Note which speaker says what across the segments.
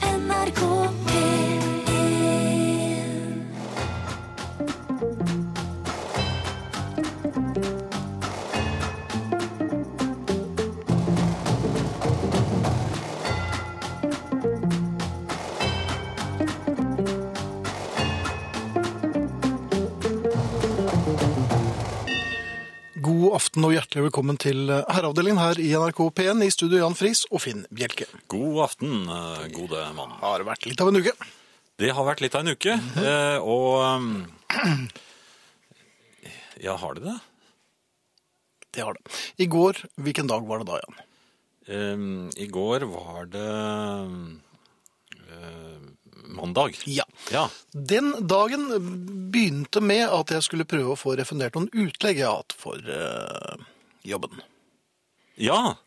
Speaker 1: NRK P1
Speaker 2: God aften og hjertelig velkommen til eh, Herreavdelingen her i NRK P1 i studio Jan Friis og Finn Bjelke.
Speaker 3: God aften, eh, gode mann.
Speaker 2: Det har vært litt av en uke.
Speaker 3: Det har vært litt av en uke, eh, og um, Ja, har det det?
Speaker 2: Det har det. I går, hvilken dag var det da, Jan?
Speaker 3: Um, I går var det um, eh, mandag.
Speaker 2: Ja.
Speaker 3: Ja.
Speaker 2: Den dagen begynte med at jeg skulle prøve å få refundert noen utlegg jeg har hatt for eh, jobben.
Speaker 3: ja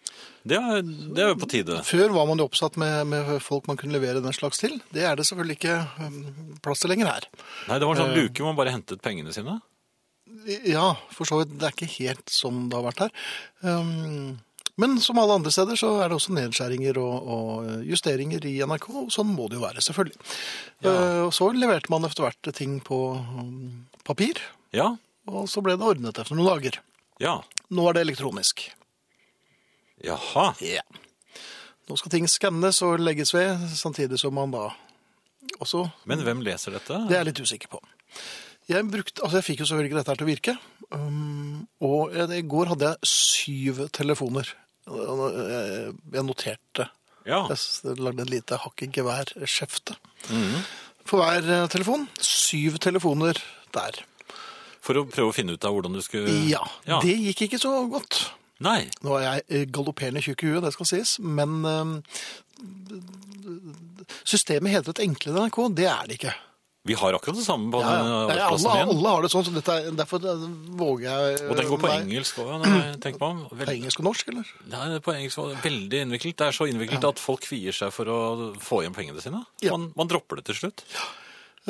Speaker 3: det, er, det er jo på tide.
Speaker 2: Før var man jo oppsatt med, med folk man kunne levere den slags til. Det er det selvfølgelig ikke eh, plass til lenger her.
Speaker 3: Nei, det var
Speaker 2: Eh.
Speaker 3: en sånn luke hvor man bare hentet pengene sine.
Speaker 2: Ja, for så vidt. Det er ikke helt som det har vært her. Um, men som alle andre steder så er det også nedskjæringer og, og justeringer i NRK, og sånn må det jo være, selvfølgelig. Uh, og så leverte man etter hvert ting på um, papir,
Speaker 3: Ja.
Speaker 2: og så ble det ordnet etter noen dager.
Speaker 3: Ja.
Speaker 2: Nå er det elektronisk.
Speaker 3: Jaha.
Speaker 2: Ja. Nå skal ting skannes og legges ved, samtidig som man da også
Speaker 3: Men hvem leser dette?
Speaker 2: Det er jeg litt usikker på. Jeg, brukte, altså jeg fikk jo selvfølgelig dette her til å virke. Um, og jeg, i går hadde jeg syv telefoner. Jeg, jeg noterte.
Speaker 3: Ja.
Speaker 2: Jeg s- lagde et lite hakk i geværskjefte. For hver eh, telefon. Syv telefoner der.
Speaker 3: For å prøve å finne ut av hvordan du skulle
Speaker 2: Ja, Det gikk ikke så godt.
Speaker 3: Nei.
Speaker 2: Nå er jeg eh, galopperende tjukk i huet, det skal sies, men eh, systemet heter et enklere NRK. Det er det ikke.
Speaker 3: Vi har akkurat det samme på
Speaker 2: Ja,
Speaker 3: den eh,
Speaker 2: ja. Nei,
Speaker 3: arbeidsplassen
Speaker 2: alle,
Speaker 3: igjen.
Speaker 2: alle har det sånn, så dette, er- derfor eh, våger jeg
Speaker 3: Og den går på
Speaker 2: meg-
Speaker 3: engelsk òg, tenk på ham.
Speaker 2: På engelsk og norsk, eller?
Speaker 3: Nei, det er på engelsk var det veldig innviklet. Det er så innviklet at folk kvier seg for å få igjen pengene sine.
Speaker 2: Ja.
Speaker 3: Man, man dropper det til slutt.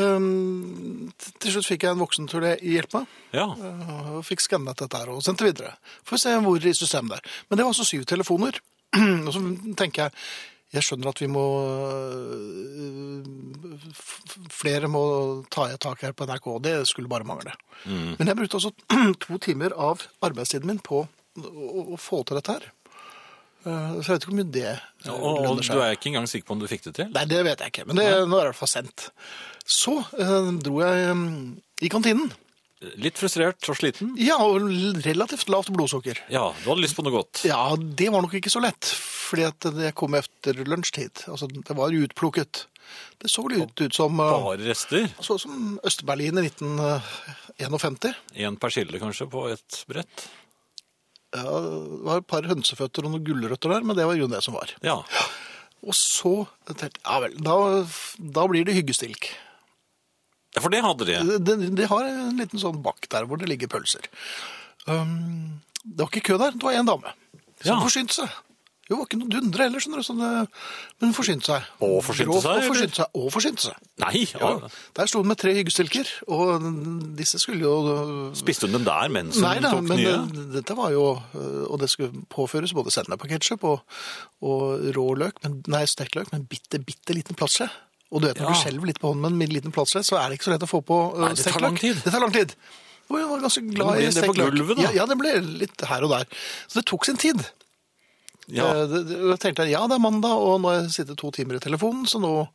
Speaker 2: Um, t- til slutt fikk jeg en voksen til å hjelpe meg,
Speaker 3: Ja,
Speaker 2: uh, og fikk skannet dette her og sendt det videre. Får se hvor i systemet det er. Men det var altså syv telefoner. og så tenker jeg jeg skjønner at vi må øh, f- f- Flere må ta i et tak her på NRK. Det skulle bare mangle.
Speaker 3: Mm.
Speaker 2: Men jeg brukte altså to timer av arbeidstiden min på å, å, å få til dette her. Uh, så jeg vet ikke hvor mye det uh,
Speaker 3: og, og
Speaker 2: lønner seg.
Speaker 3: du er ikke engang sikker på om du fikk det til?
Speaker 2: Nei, det vet jeg ikke, men det, nå er det i hvert fall sendt. Så eh, dro jeg eh, i kantinen.
Speaker 3: Litt frustrert og sliten?
Speaker 2: Ja, og l- relativt lavt blodsukker.
Speaker 3: Ja, du hadde lyst på noe godt.
Speaker 2: Ja, det var nok ikke så lett, fordi at det kom etter lunsjtid. Altså, det var utplukket. Det så litt ut som, eh,
Speaker 3: Bare rester.
Speaker 2: så ut som Øst-Berlin i eh, 1951.
Speaker 3: Én persille kanskje på et brett.
Speaker 2: Ja, det var et par hønseføtter og noen gulrøtter der, men det var jo det som var.
Speaker 3: Ja.
Speaker 2: Og så tenkte jeg, ja vel, da, da blir det hyggestilk.
Speaker 3: Ja, For det hadde de.
Speaker 2: Det, det- det har en liten sånn bakk der hvor det ligger pølser. Um, det var ikke kø der, det var en dame som
Speaker 3: Ja.
Speaker 2: forsynte seg. Jo, det var ikke noe dundre heller, skjønner du, sånn, eh, men hun forsynte seg.
Speaker 3: Og forsynte
Speaker 2: Grov,
Speaker 3: seg,
Speaker 2: Og
Speaker 3: eller?
Speaker 2: forsynte seg, og forsynte seg.
Speaker 3: Nei! Ja.
Speaker 2: Ja, Der sto hun med tre hyggestilker, og disse skulle jo
Speaker 3: Spiste hun dem der mens hun
Speaker 2: Nei da,
Speaker 3: tok
Speaker 2: men
Speaker 3: nye?
Speaker 2: det, dette var jo øh, Og det skulle påføres både sennep og ketsjup og, og rå løk, men, nei, stekt løk, men bitte, bitte liten plastskje. Og du vet når
Speaker 3: Ja.
Speaker 2: du skjelver litt på hånden med en min- liten plastskje, så er det ikke så lett å få på øh,
Speaker 3: Nei, det tar
Speaker 2: stekt
Speaker 3: lang
Speaker 2: løk.
Speaker 3: tid.
Speaker 2: Det tar lang tid. Og jeg var ganske
Speaker 3: Men
Speaker 2: glad
Speaker 3: ble
Speaker 2: i
Speaker 3: det
Speaker 2: stekt
Speaker 3: på
Speaker 2: løk.
Speaker 3: gulvet, da?
Speaker 2: Ja, ja, det ble litt her og der. Så det tok sin tid.
Speaker 3: Ja.
Speaker 2: Eh, det- det- Jeg tenkte ja, det er mandag, og nå har jeg sittet to timer i telefonen, så nå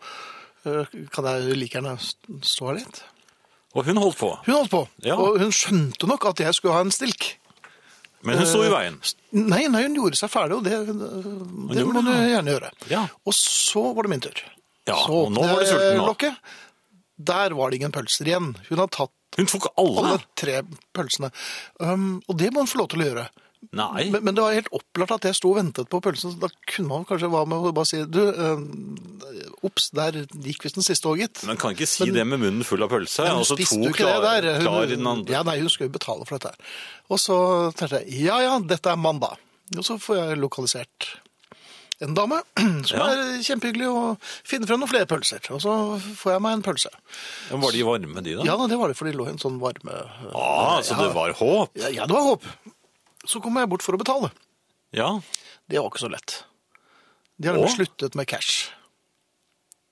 Speaker 2: øh, kan jeg like gjerne st- stå her litt.
Speaker 3: Og hun holdt på.
Speaker 2: Hun holdt på,
Speaker 3: Ja.
Speaker 2: og hun skjønte nok at jeg skulle ha en stilk.
Speaker 3: Men
Speaker 2: eh,
Speaker 3: hun sto i veien.
Speaker 2: Nei, nei, hun gjorde seg ferdig, og det, det
Speaker 3: gjorde
Speaker 2: må du
Speaker 3: det,
Speaker 2: gjerne gjøre.
Speaker 3: Ja.
Speaker 2: Og så var det min tur.
Speaker 3: Ja,
Speaker 2: så
Speaker 3: og nå var du sulten nå.
Speaker 2: lokket. Der var det ingen pølser igjen. Hun har tatt
Speaker 3: Hun tok alle!
Speaker 2: alle tre pølsene. Um, og det må hun få lov til å gjøre.
Speaker 3: Nei.
Speaker 2: Men, men det var helt opplagt at jeg sto og ventet på pølsen, så da kunne man kanskje hva med å bare si Du, eh, ops, der gikk visst den siste òg, gitt.
Speaker 3: Men kan ikke si det med munnen full av pølse.
Speaker 2: Men hun
Speaker 3: altså
Speaker 2: spiste
Speaker 3: to
Speaker 2: jo ikke
Speaker 3: klar,
Speaker 2: det der. Hun,
Speaker 3: klar i den andre.
Speaker 2: Ja, nei, hun skulle jo betale for dette. her. Og så tenkte jeg, ja, ja, dette er mandag. Og så får jeg lokalisert en dame, som
Speaker 3: Ja.
Speaker 2: er kjempehyggelig, og finner frem noen flere pølser. Og så får jeg meg en pølse.
Speaker 3: Ja, Var de varme, de da?
Speaker 2: Ja, det var det, for det lå i en sånn varme...
Speaker 3: Ah, så det var håp?
Speaker 2: Ja, ja, det var håp. Så kom jeg bort for å betale.
Speaker 3: Ja.
Speaker 2: Det var ikke så lett. De har
Speaker 3: Å?
Speaker 2: nemlig sluttet med cash.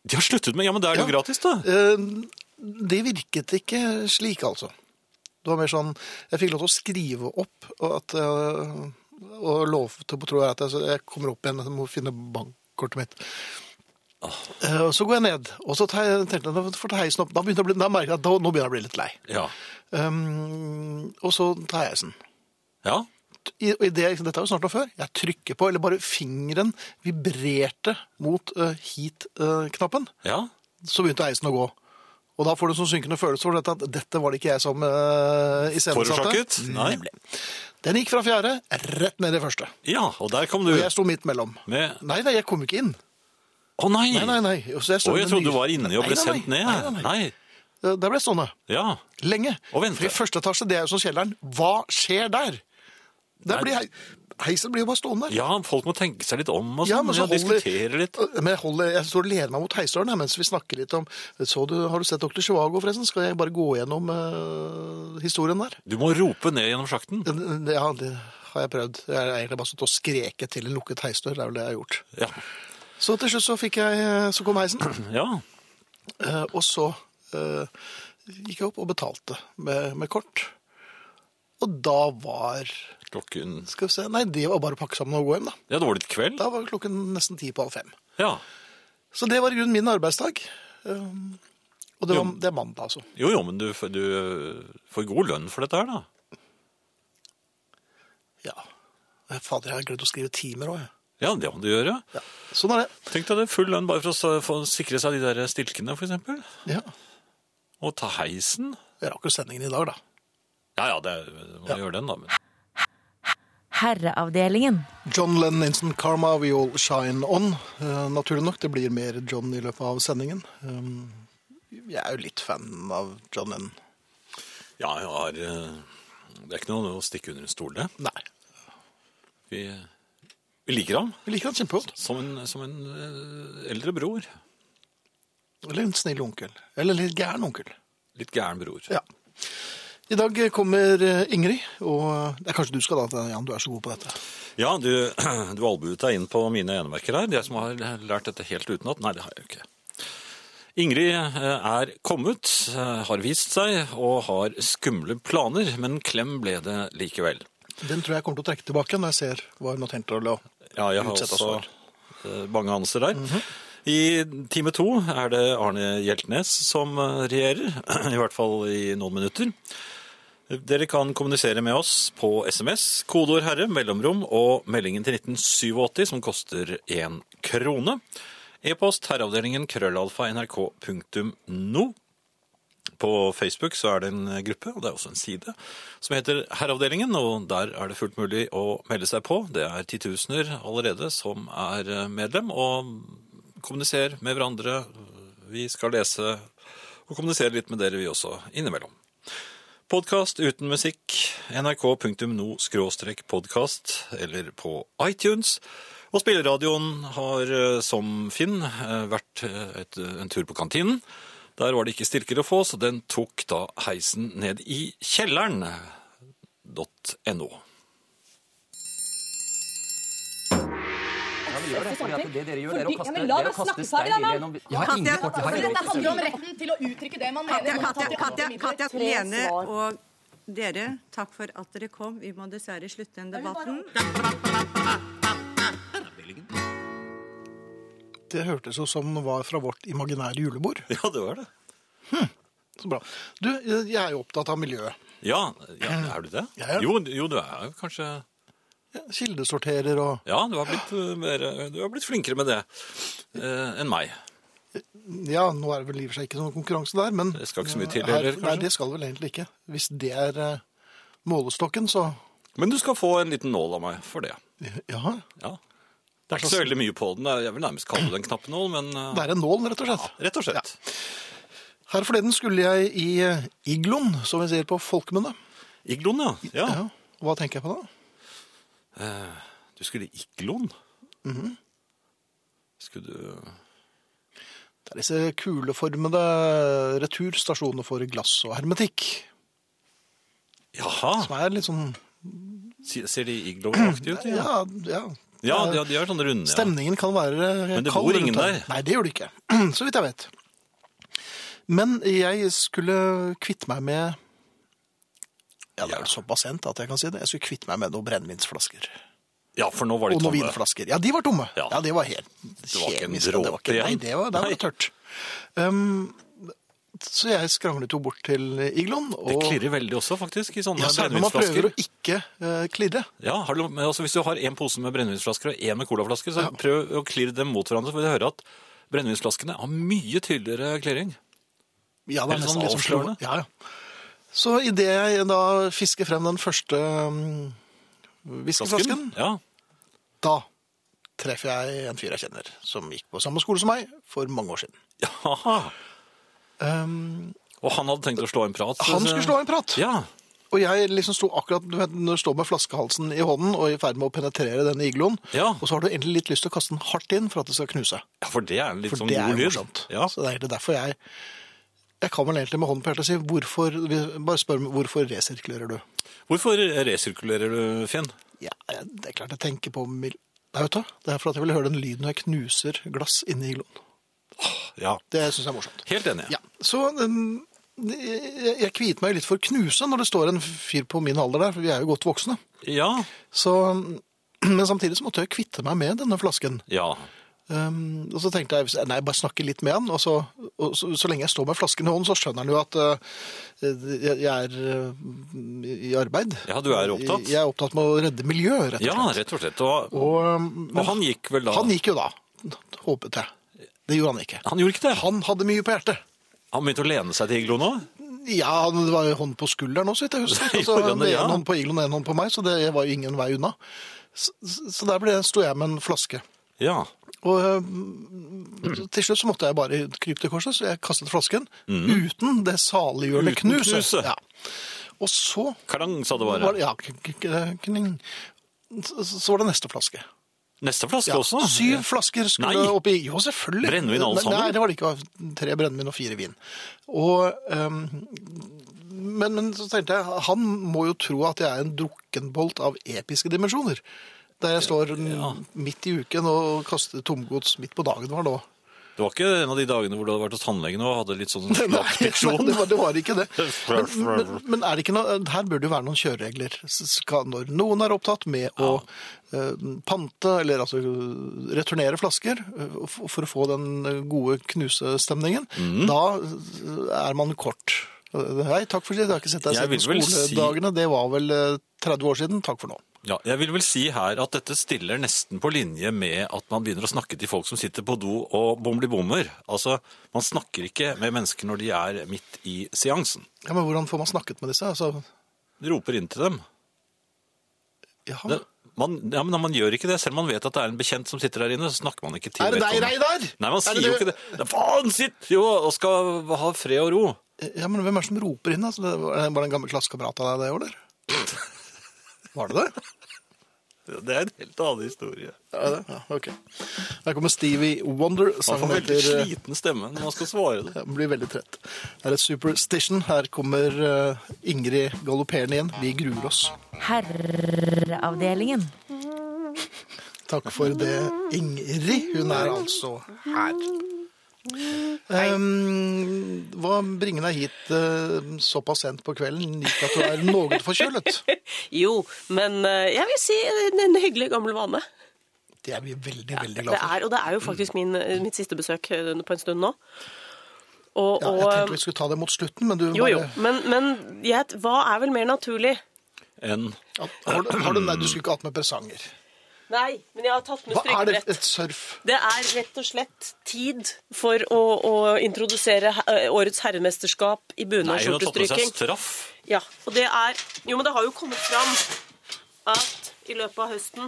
Speaker 3: De har sluttet med Ja, men da er det jo
Speaker 2: Ja.
Speaker 3: gratis, da.
Speaker 2: Eh, Det virket ikke slik, altså. Det var mer sånn Jeg fikk lov til å skrive opp og, at, eh, og lovte på tror jeg at jeg, så jeg kommer opp igjen, jeg må finne bankkortet mitt. Eh, og Så går jeg ned, og så tar jeg, tenkte jeg, da får jeg ta heisen opp. Da, begynte jeg å bli, da merker jeg at da, nå begynner jeg å bli litt lei.
Speaker 3: Ja.
Speaker 2: Um, og så tar jeg heisen.
Speaker 3: ja.
Speaker 2: I, og i det, liksom, dette er jo snart noe før. Jeg trykker på, eller bare fingeren vibrerte mot eh, hit-knappen
Speaker 3: Ja.
Speaker 2: så begynte heisen å gå. Og da får du en sånn synkende følelse for dette, at dette var det ikke jeg som uh,
Speaker 3: Forårsaket? Nei.
Speaker 2: Den gikk fra fjerde rett ned i første.
Speaker 3: Ja, og der kom du.
Speaker 2: Og jeg sto midt mellom.
Speaker 3: Med
Speaker 2: Nei, nei, jeg kom ikke inn.
Speaker 3: Å nei!
Speaker 2: Nei, nei, nei. Og så
Speaker 3: Å, jeg
Speaker 2: med
Speaker 3: trodde
Speaker 2: ny-
Speaker 3: du var inne og
Speaker 2: Nei,
Speaker 3: ble
Speaker 2: nei,
Speaker 3: sendt
Speaker 2: nei.
Speaker 3: ned.
Speaker 2: Nei, nei, nei.
Speaker 3: Nei.
Speaker 2: Eh, Der ble jeg stående.
Speaker 3: Ja.
Speaker 2: Lenge.
Speaker 3: Og vente.
Speaker 2: For i første etasje, det er jo som kjelleren. Hva skjer der?
Speaker 3: Nei.
Speaker 2: der blir hei... Heisen blir jo bare stående der.
Speaker 3: ja, folk må tenke seg litt om og
Speaker 2: Ja,
Speaker 3: sånn.
Speaker 2: men så
Speaker 3: Ja,
Speaker 2: holder- Øh,
Speaker 3: diskutere litt.
Speaker 2: Men jeg, holder, jeg står og lener meg mot heisdøren her, mens vi snakker litt om så du, Har du sett Dr. Chivago, forresten? Skal jeg bare gå gjennom eh, historien der?
Speaker 3: Du må rope ned gjennom sjakten.
Speaker 2: Det- Ja, det har jeg prøvd. Jeg har egentlig bare stått og skreket til en lukket heisdør. Det er vel det jeg har gjort.
Speaker 3: Ja.
Speaker 2: Så til slutt så, fikk jeg, øh, så kom heisen,
Speaker 3: ja.
Speaker 2: eh, og så eh, gikk jeg opp og betalte med, med kort. Og da var
Speaker 3: Klokken
Speaker 2: Skal vi se Nei, det var bare å pakke sammen og gå hjem, da.
Speaker 3: Ja, det var litt kveld.
Speaker 2: Da var klokken nesten ti på halv fem.
Speaker 3: Ja.
Speaker 2: Så det var i grunnen min arbeidsdag. Um, Og det, var,
Speaker 3: Jo.
Speaker 2: det er mandag, altså.
Speaker 3: Jo, jo, men du, f- du eh, får god lønn for dette her, da.
Speaker 2: Ja. Eh, Fader, jeg har glemt å skrive timer òg, jeg.
Speaker 3: Ja, det må du gjøre.
Speaker 2: Ja. Sånn er det.
Speaker 3: Tenk deg det, full lønn bare for å s- få sikre seg de der stilkene, for eksempel.
Speaker 2: Ja.
Speaker 3: Og ta heisen.
Speaker 2: Jeg rakk jo sendingen i dag, da.
Speaker 3: Ja, ja, det er, du må gjøre den da. Men.
Speaker 1: Herreavdelingen.
Speaker 2: John Lennon, Instant Karma, We All Shine On. Eh, naturlig nok, det blir mer John i løpet av sendingen. Um, jeg er jo litt fan av John Lennon.
Speaker 3: Ja, jeg har... eh, Det er ikke noe å stikke under en stol, det.
Speaker 2: Nei.
Speaker 3: Vi, vi liker ham
Speaker 2: Jeg liker han kjempegodt.
Speaker 3: som en, som en eh, eldre bror.
Speaker 2: Eller en snill onkel. Eller en litt gæren onkel.
Speaker 3: Litt gæren bror.
Speaker 2: Ja. I dag kommer eh, Ingrid, og eh, det er kanskje du skal da, Jan, du er så god på dette.
Speaker 3: Ja, du, du albuet deg inn på mine enemerker her. Jeg som har lært dette helt utenat. Nei, det har jeg jo ikke. Ingrid eh, er kommet, eh, har vist seg og har skumle planer, men klem ble det likevel.
Speaker 2: Den tror jeg jeg kommer til å trekke tilbake når jeg ser hva hun har tenkt å la
Speaker 3: Ja, jeg har
Speaker 2: utsette oss
Speaker 3: også
Speaker 2: for. Mhm.
Speaker 3: eh, mange anelser der. I time to er det Arne Hjeltnes som eh, regjerer, i hvert fall i noen minutter. Dere kan kommunisere med oss på SMS, kodeord 'herre', mellomrom og meldingen til 1987 som koster én krone. E-post herreavdelingen krøllalfa nrk.no. På Facebook så er det en eh, gruppe, og det er også en side, som heter Herreavdelingen, og der er det fullt mulig å melde seg på. Det er titusener allerede som er eh, medlem, og kommuniser med hverandre. Vi skal lese og kommunisere litt med dere vi også innimellom. Podkast uten musikk, nrk.no-podkast, eller på iTunes. Og spilleradioen har, eh, som Finn, eh, vært eh, et, en tur på kantinen. Der var det ikke stilker å få, så den tok da heisen ned i kjelleren.no.
Speaker 4: Ja, vi gjør det, fordi at det dere gjør, det er å
Speaker 5: Fordi-
Speaker 4: kaste,
Speaker 5: ja, men la
Speaker 4: dere
Speaker 5: meg
Speaker 4: kaster
Speaker 5: snakke ferdig,
Speaker 4: stein
Speaker 5: da,
Speaker 4: gjennom
Speaker 5: mann.
Speaker 4: Jeg har ingen kort, jeg har ingen
Speaker 5: For Altså, dette
Speaker 4: kort.
Speaker 5: handler om retten til å uttrykke det man
Speaker 6: Katja,
Speaker 5: mener.
Speaker 6: Katja, Katja, Katja,
Speaker 5: Tre
Speaker 6: Lene
Speaker 5: svar.
Speaker 6: og dere, takk for at dere kom. Vi må dessverre slutte den debatten.
Speaker 2: Det hørtes jo som var fra vårt imaginære julebord.
Speaker 3: Ja, det var det.
Speaker 2: Så bra. Du, jeg er jo opptatt av miljøet.
Speaker 3: Ja, ja er du det?
Speaker 2: Ja, ja.
Speaker 3: Jo, jo, du er jo kanskje
Speaker 2: Jeg Kildesorterer og
Speaker 3: Ja, du har blitt, eh, mer, du har blitt flinkere med det eh, enn meg.
Speaker 2: Ja, nå er det vel i og for seg ikke noen konkurranse der, men
Speaker 3: Det skal ikke så mye til
Speaker 2: Her-
Speaker 3: heller, kanskje?
Speaker 2: Nei, det skal vel egentlig ikke. Hvis det er eh, målestokken, så
Speaker 3: Men du skal få en liten nål av meg for det.
Speaker 2: Ja.
Speaker 3: Ja. Det er ikke så
Speaker 2: sånn-
Speaker 3: veldig mye på den. Jeg vil nærmest kalle det en knappenål, men eh,
Speaker 2: Det er en nål, rett og slett.
Speaker 3: rett og slett.
Speaker 2: Her forleden skulle jeg i eh, igloen, som vi sier på folkemunne.
Speaker 3: Igloen, ja. ja. Eh,
Speaker 2: Ja. Hva tenker jeg på da?
Speaker 3: Du skulle i igloen?
Speaker 2: Mhm.
Speaker 3: Skulle du
Speaker 2: Det er disse kuleformede returstasjonene for glass og hermetikk.
Speaker 3: Jaha.
Speaker 2: Som er litt sånn
Speaker 3: Ser ser de igloaktige ut?
Speaker 2: Ja, ja.
Speaker 3: Ja, de, har- de har sånne runde. Ja.
Speaker 2: Stemningen kan være
Speaker 3: Men det
Speaker 2: kald
Speaker 3: bor
Speaker 2: rundt
Speaker 3: ingen
Speaker 2: her.
Speaker 3: der.
Speaker 2: Nei, det gjør det ikke. Så vidt jeg vet. Men jeg skulle kvitte meg med Ja, det er jo såpass sent at jeg kan si det. Jeg skulle kvitte meg med noen brennevinsflasker.
Speaker 3: ja, for nå var de
Speaker 2: Og noen
Speaker 3: tomme.
Speaker 2: vinflasker. Ja, de var tomme. Ja,
Speaker 3: Ja.
Speaker 2: det var helt
Speaker 3: var ikke en
Speaker 2: kjemisk. Det var ikke
Speaker 3: dråpe igjen.
Speaker 2: Nei, det var, der var det tørt. Um, så jeg skranglet jo bort til Iglon. Og,
Speaker 3: Det klirrer veldig også, faktisk, i sånne
Speaker 2: Ja, særlig når man prøver
Speaker 3: brennevinsflasker.
Speaker 2: å ikke eh, klirre.
Speaker 3: Ja, har du, men altså, hvis du har en pose med brennevinsflasker og en med colaflasker, så prøv å klirre dem mot hverandre, for du hører at brennevinsflaskene har mye tydeligere klirring.
Speaker 2: Ja, det er
Speaker 3: Eller
Speaker 2: nesten
Speaker 3: sånn
Speaker 2: litt sånn
Speaker 3: avslørende.
Speaker 2: Ja, ja. Så idet jeg da fisker frem den første um, whiskeflasken,
Speaker 3: Ja,
Speaker 2: da treffer jeg en fyr jeg kjenner, som gikk på samme skole som meg for mange år siden.
Speaker 3: Jaha.
Speaker 2: Um,
Speaker 3: Og han hadde tenkt å slå en prat.
Speaker 2: han skulle slå en prat,
Speaker 3: altså- Ja,
Speaker 2: og jeg liksom sto akkurat du vet, når du står med flaskehalsen i hånden og er i ferd med å penetrere denne igloen,
Speaker 3: Ja.
Speaker 2: og så har du egentlig litt lyst til å kaste den hardt inn for at det skal knuse.
Speaker 3: ja for det er en litt
Speaker 2: For
Speaker 3: sånn
Speaker 2: det er
Speaker 3: god
Speaker 2: jo
Speaker 3: lyd.
Speaker 2: morsomt. Altså.
Speaker 3: Ja.
Speaker 2: Så det er egentlig derfor jeg Jeg kan vel egentlig med hånden på hjertet si hvorfor, vi- Bare spør meg, hvorfor resirkulerer du?
Speaker 3: Hvorfor resirkulerer du, Finn?
Speaker 2: Ja, jeg- det er klart jeg tenker på mil... Nei, vet du, hva? det er for at jeg vil høre den lyden når jeg knuser glass inni igloen.
Speaker 3: Ja,
Speaker 2: Det syns jeg er morsomt.
Speaker 3: helt enig.
Speaker 2: Ja, så um, jeg jeg kviter meg litt for knuse når det står en fyr på min alder der, for vi er jo godt voksne.
Speaker 3: Ja,
Speaker 2: Så, um, men samtidig så måtte jeg kvitte meg med denne flasken.
Speaker 3: ja.
Speaker 2: Um, og så tenkte jeg, nei, bare snakke litt med han, og så, og så, så lenge jeg står med flasken i hånden, så skjønner han jo at uh, jeg, jeg er uh, i arbeid.
Speaker 3: Ja, du er opptatt.
Speaker 2: Jeg er opptatt med å redde miljø, rett og
Speaker 3: Ja,
Speaker 2: slett.
Speaker 3: rett og slett. Og,
Speaker 2: Og, um,
Speaker 3: og han gikk vel da?
Speaker 2: han gikk jo da, håpet jeg. Det gjorde han ikke.
Speaker 3: Han gjorde ikke det.
Speaker 2: Han hadde mye på hjertet.
Speaker 3: Han begynte å lene seg til iglo nå.
Speaker 2: Ja, det var jo hånd på skulderen også, vidt jeg husker.
Speaker 3: Nei,
Speaker 2: Altså,
Speaker 3: gjorde han det,
Speaker 2: det er
Speaker 3: ja?
Speaker 2: en hånd på iglen og en hånd på meg, så det var jo ingen vei unna. Så, så der ble, sto jeg med en flaske.
Speaker 3: Ja,
Speaker 2: Og øhm, til slutt så måtte jeg bare krype til korset, så jeg kastet flasken uten det saliggjørende
Speaker 3: Mm. Uten
Speaker 2: knuset.
Speaker 3: knuset.
Speaker 2: Ja. Og så
Speaker 3: klang, sa det
Speaker 2: var
Speaker 3: bare.
Speaker 2: det, ja, k- k- k- kning. Så- så var det neste flaske.
Speaker 3: Neste flaske
Speaker 2: Ja,
Speaker 3: også.
Speaker 2: syv flasker skulle
Speaker 3: Nei.
Speaker 2: oppi. Jo, selvfølgelig.
Speaker 3: Brennevin alle sammen?
Speaker 2: Nei, det var det ikke. Det var Tre brennevin og fire vin. Og, øhm, men, men så tenkte jeg, han må jo tro at jeg er en drukkenbolt av episke dimensjoner. Der jeg står midt i uken og kaster tomgods midt på dagen var nå.
Speaker 3: Det var ikke en av de dagene hvor du hadde vært hos tannlegen og hadde litt sånn
Speaker 2: Nei,
Speaker 3: slapp
Speaker 2: nei,
Speaker 3: diksjon.
Speaker 2: det, var, det var ikke det. Men, men, men er det ikke noe, her burde det være noen kjøreregler. Skal, når noen er opptatt med å eh, pante, eller altså eh, returnere flasker eh, for, for å få den gode knusestemningen,
Speaker 3: Mm.
Speaker 2: da eh, er man kort. Eh, Hei, takk for det. Jeg har ikke sett deg siden
Speaker 3: Jeg vil vel si-
Speaker 2: skoledagene. Det var vel eh, 30 år siden. Takk for nå.
Speaker 3: Ja, jeg vil vel si her at dette stiller nesten på linje med at man begynner å snakke til folk som sitter på do og bomli-bommer. Altså, man snakker ikke med mennesker når de er midt i seansen.
Speaker 2: Ja, men hvordan får man snakket med disse? Altså,
Speaker 3: De roper inn til dem.
Speaker 2: ja.
Speaker 3: Det, man, ja, men man gjør ikke det. Selv om man vet at det er en bekjent som sitter der inne, så snakker man ikke til
Speaker 2: Er det deg,
Speaker 3: vedkommende.
Speaker 2: Reidar?
Speaker 3: Nei, man
Speaker 2: Er
Speaker 3: sier
Speaker 2: det
Speaker 3: jo
Speaker 2: du?
Speaker 3: ikke det. det er, faen, sitt jo og skal ha fred og ro.
Speaker 2: Ja, men hvem er det som roper inn? Altså, det var var det en gammel klassekamerat av deg det, eller? Var det det?
Speaker 3: Det er en helt annen historie.
Speaker 2: Ja, det? Ja, ok. Der kommer Stevie Wonder.
Speaker 3: Man
Speaker 2: Sangen
Speaker 3: får veldig
Speaker 2: heter eh,
Speaker 3: sliten stemme når man skal svare det.
Speaker 2: ja, Man blir veldig trett. Det er et Superstition. Her kommer eh, Ingrid galopperende igjen. Vi gruer oss.
Speaker 1: Herreavdelingen.
Speaker 2: Takk for det, Ingrid. Hun er altså her. Um, hva bringer deg hit eh, såpass sent på kvelden? Ikke at du er noe forkjølet.
Speaker 7: Jo, men eh, jeg vil si en, en hyggelig gammel vane.
Speaker 2: Det er vi veldig, veldig
Speaker 7: Det
Speaker 2: glad for.
Speaker 7: er, og det er jo faktisk min, mitt siste besøk eh, på en stund nå. Og,
Speaker 2: Ja, jeg
Speaker 7: og eh,
Speaker 2: tenkte vi skulle ta det mot slutten, men du
Speaker 7: Jo, jo.
Speaker 2: bare
Speaker 7: Men, men jeg, hva er vel mer naturlig?
Speaker 3: En
Speaker 2: Ja, Har du, har du, nei, du skulle ikke hatt med presanger.
Speaker 7: Nei, men jeg har tatt med
Speaker 2: Hva er det?
Speaker 7: strykebrett.
Speaker 2: Et surf?
Speaker 7: Det er rett og slett tid for å, å introdusere he- årets herremesterskap i
Speaker 3: Nei, hun har tatt med seg
Speaker 7: bunadskjortestryking.
Speaker 3: straff.
Speaker 7: Ja, og det er Jo, men det har jo kommet fram at i løpet av høsten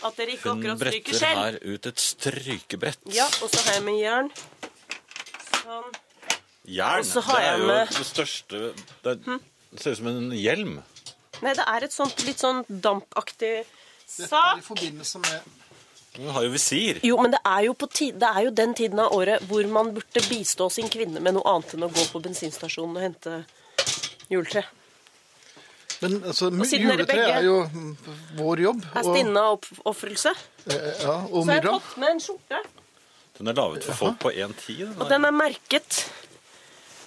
Speaker 7: at dere ikke
Speaker 3: Hun
Speaker 7: akkurat stryker
Speaker 3: bretter
Speaker 7: selv.
Speaker 3: her ut et strykebrett.
Speaker 7: Ja, og så har jeg med jern. Sånn.
Speaker 3: Jern.
Speaker 7: Og så har
Speaker 3: det er
Speaker 7: jeg
Speaker 3: jo
Speaker 7: med- Hm?
Speaker 3: det største Det, er, det ser ut som en hjelm.
Speaker 7: Nei, det er et sånt litt sånn dampaktig
Speaker 2: Dette er i
Speaker 7: sak.
Speaker 2: forbindelse med
Speaker 3: Hun har jo visir.
Speaker 7: Jo, men det er jo, på ti- det er jo den tiden av året hvor man burde bistå sin kvinne med noe annet enn å gå på bensinstasjonen og hente juletre.
Speaker 2: Men altså, mu-
Speaker 7: siden dere
Speaker 2: juletre
Speaker 7: begge
Speaker 2: er jo mm, vår jobb.
Speaker 7: Er stinne av oppofrelse.
Speaker 2: eh, ja, og
Speaker 7: Så har jeg
Speaker 2: Miriam.
Speaker 7: tatt med en skjorte.
Speaker 3: Den er laget for folk på 1,10. den
Speaker 7: Og
Speaker 3: der.
Speaker 7: den er merket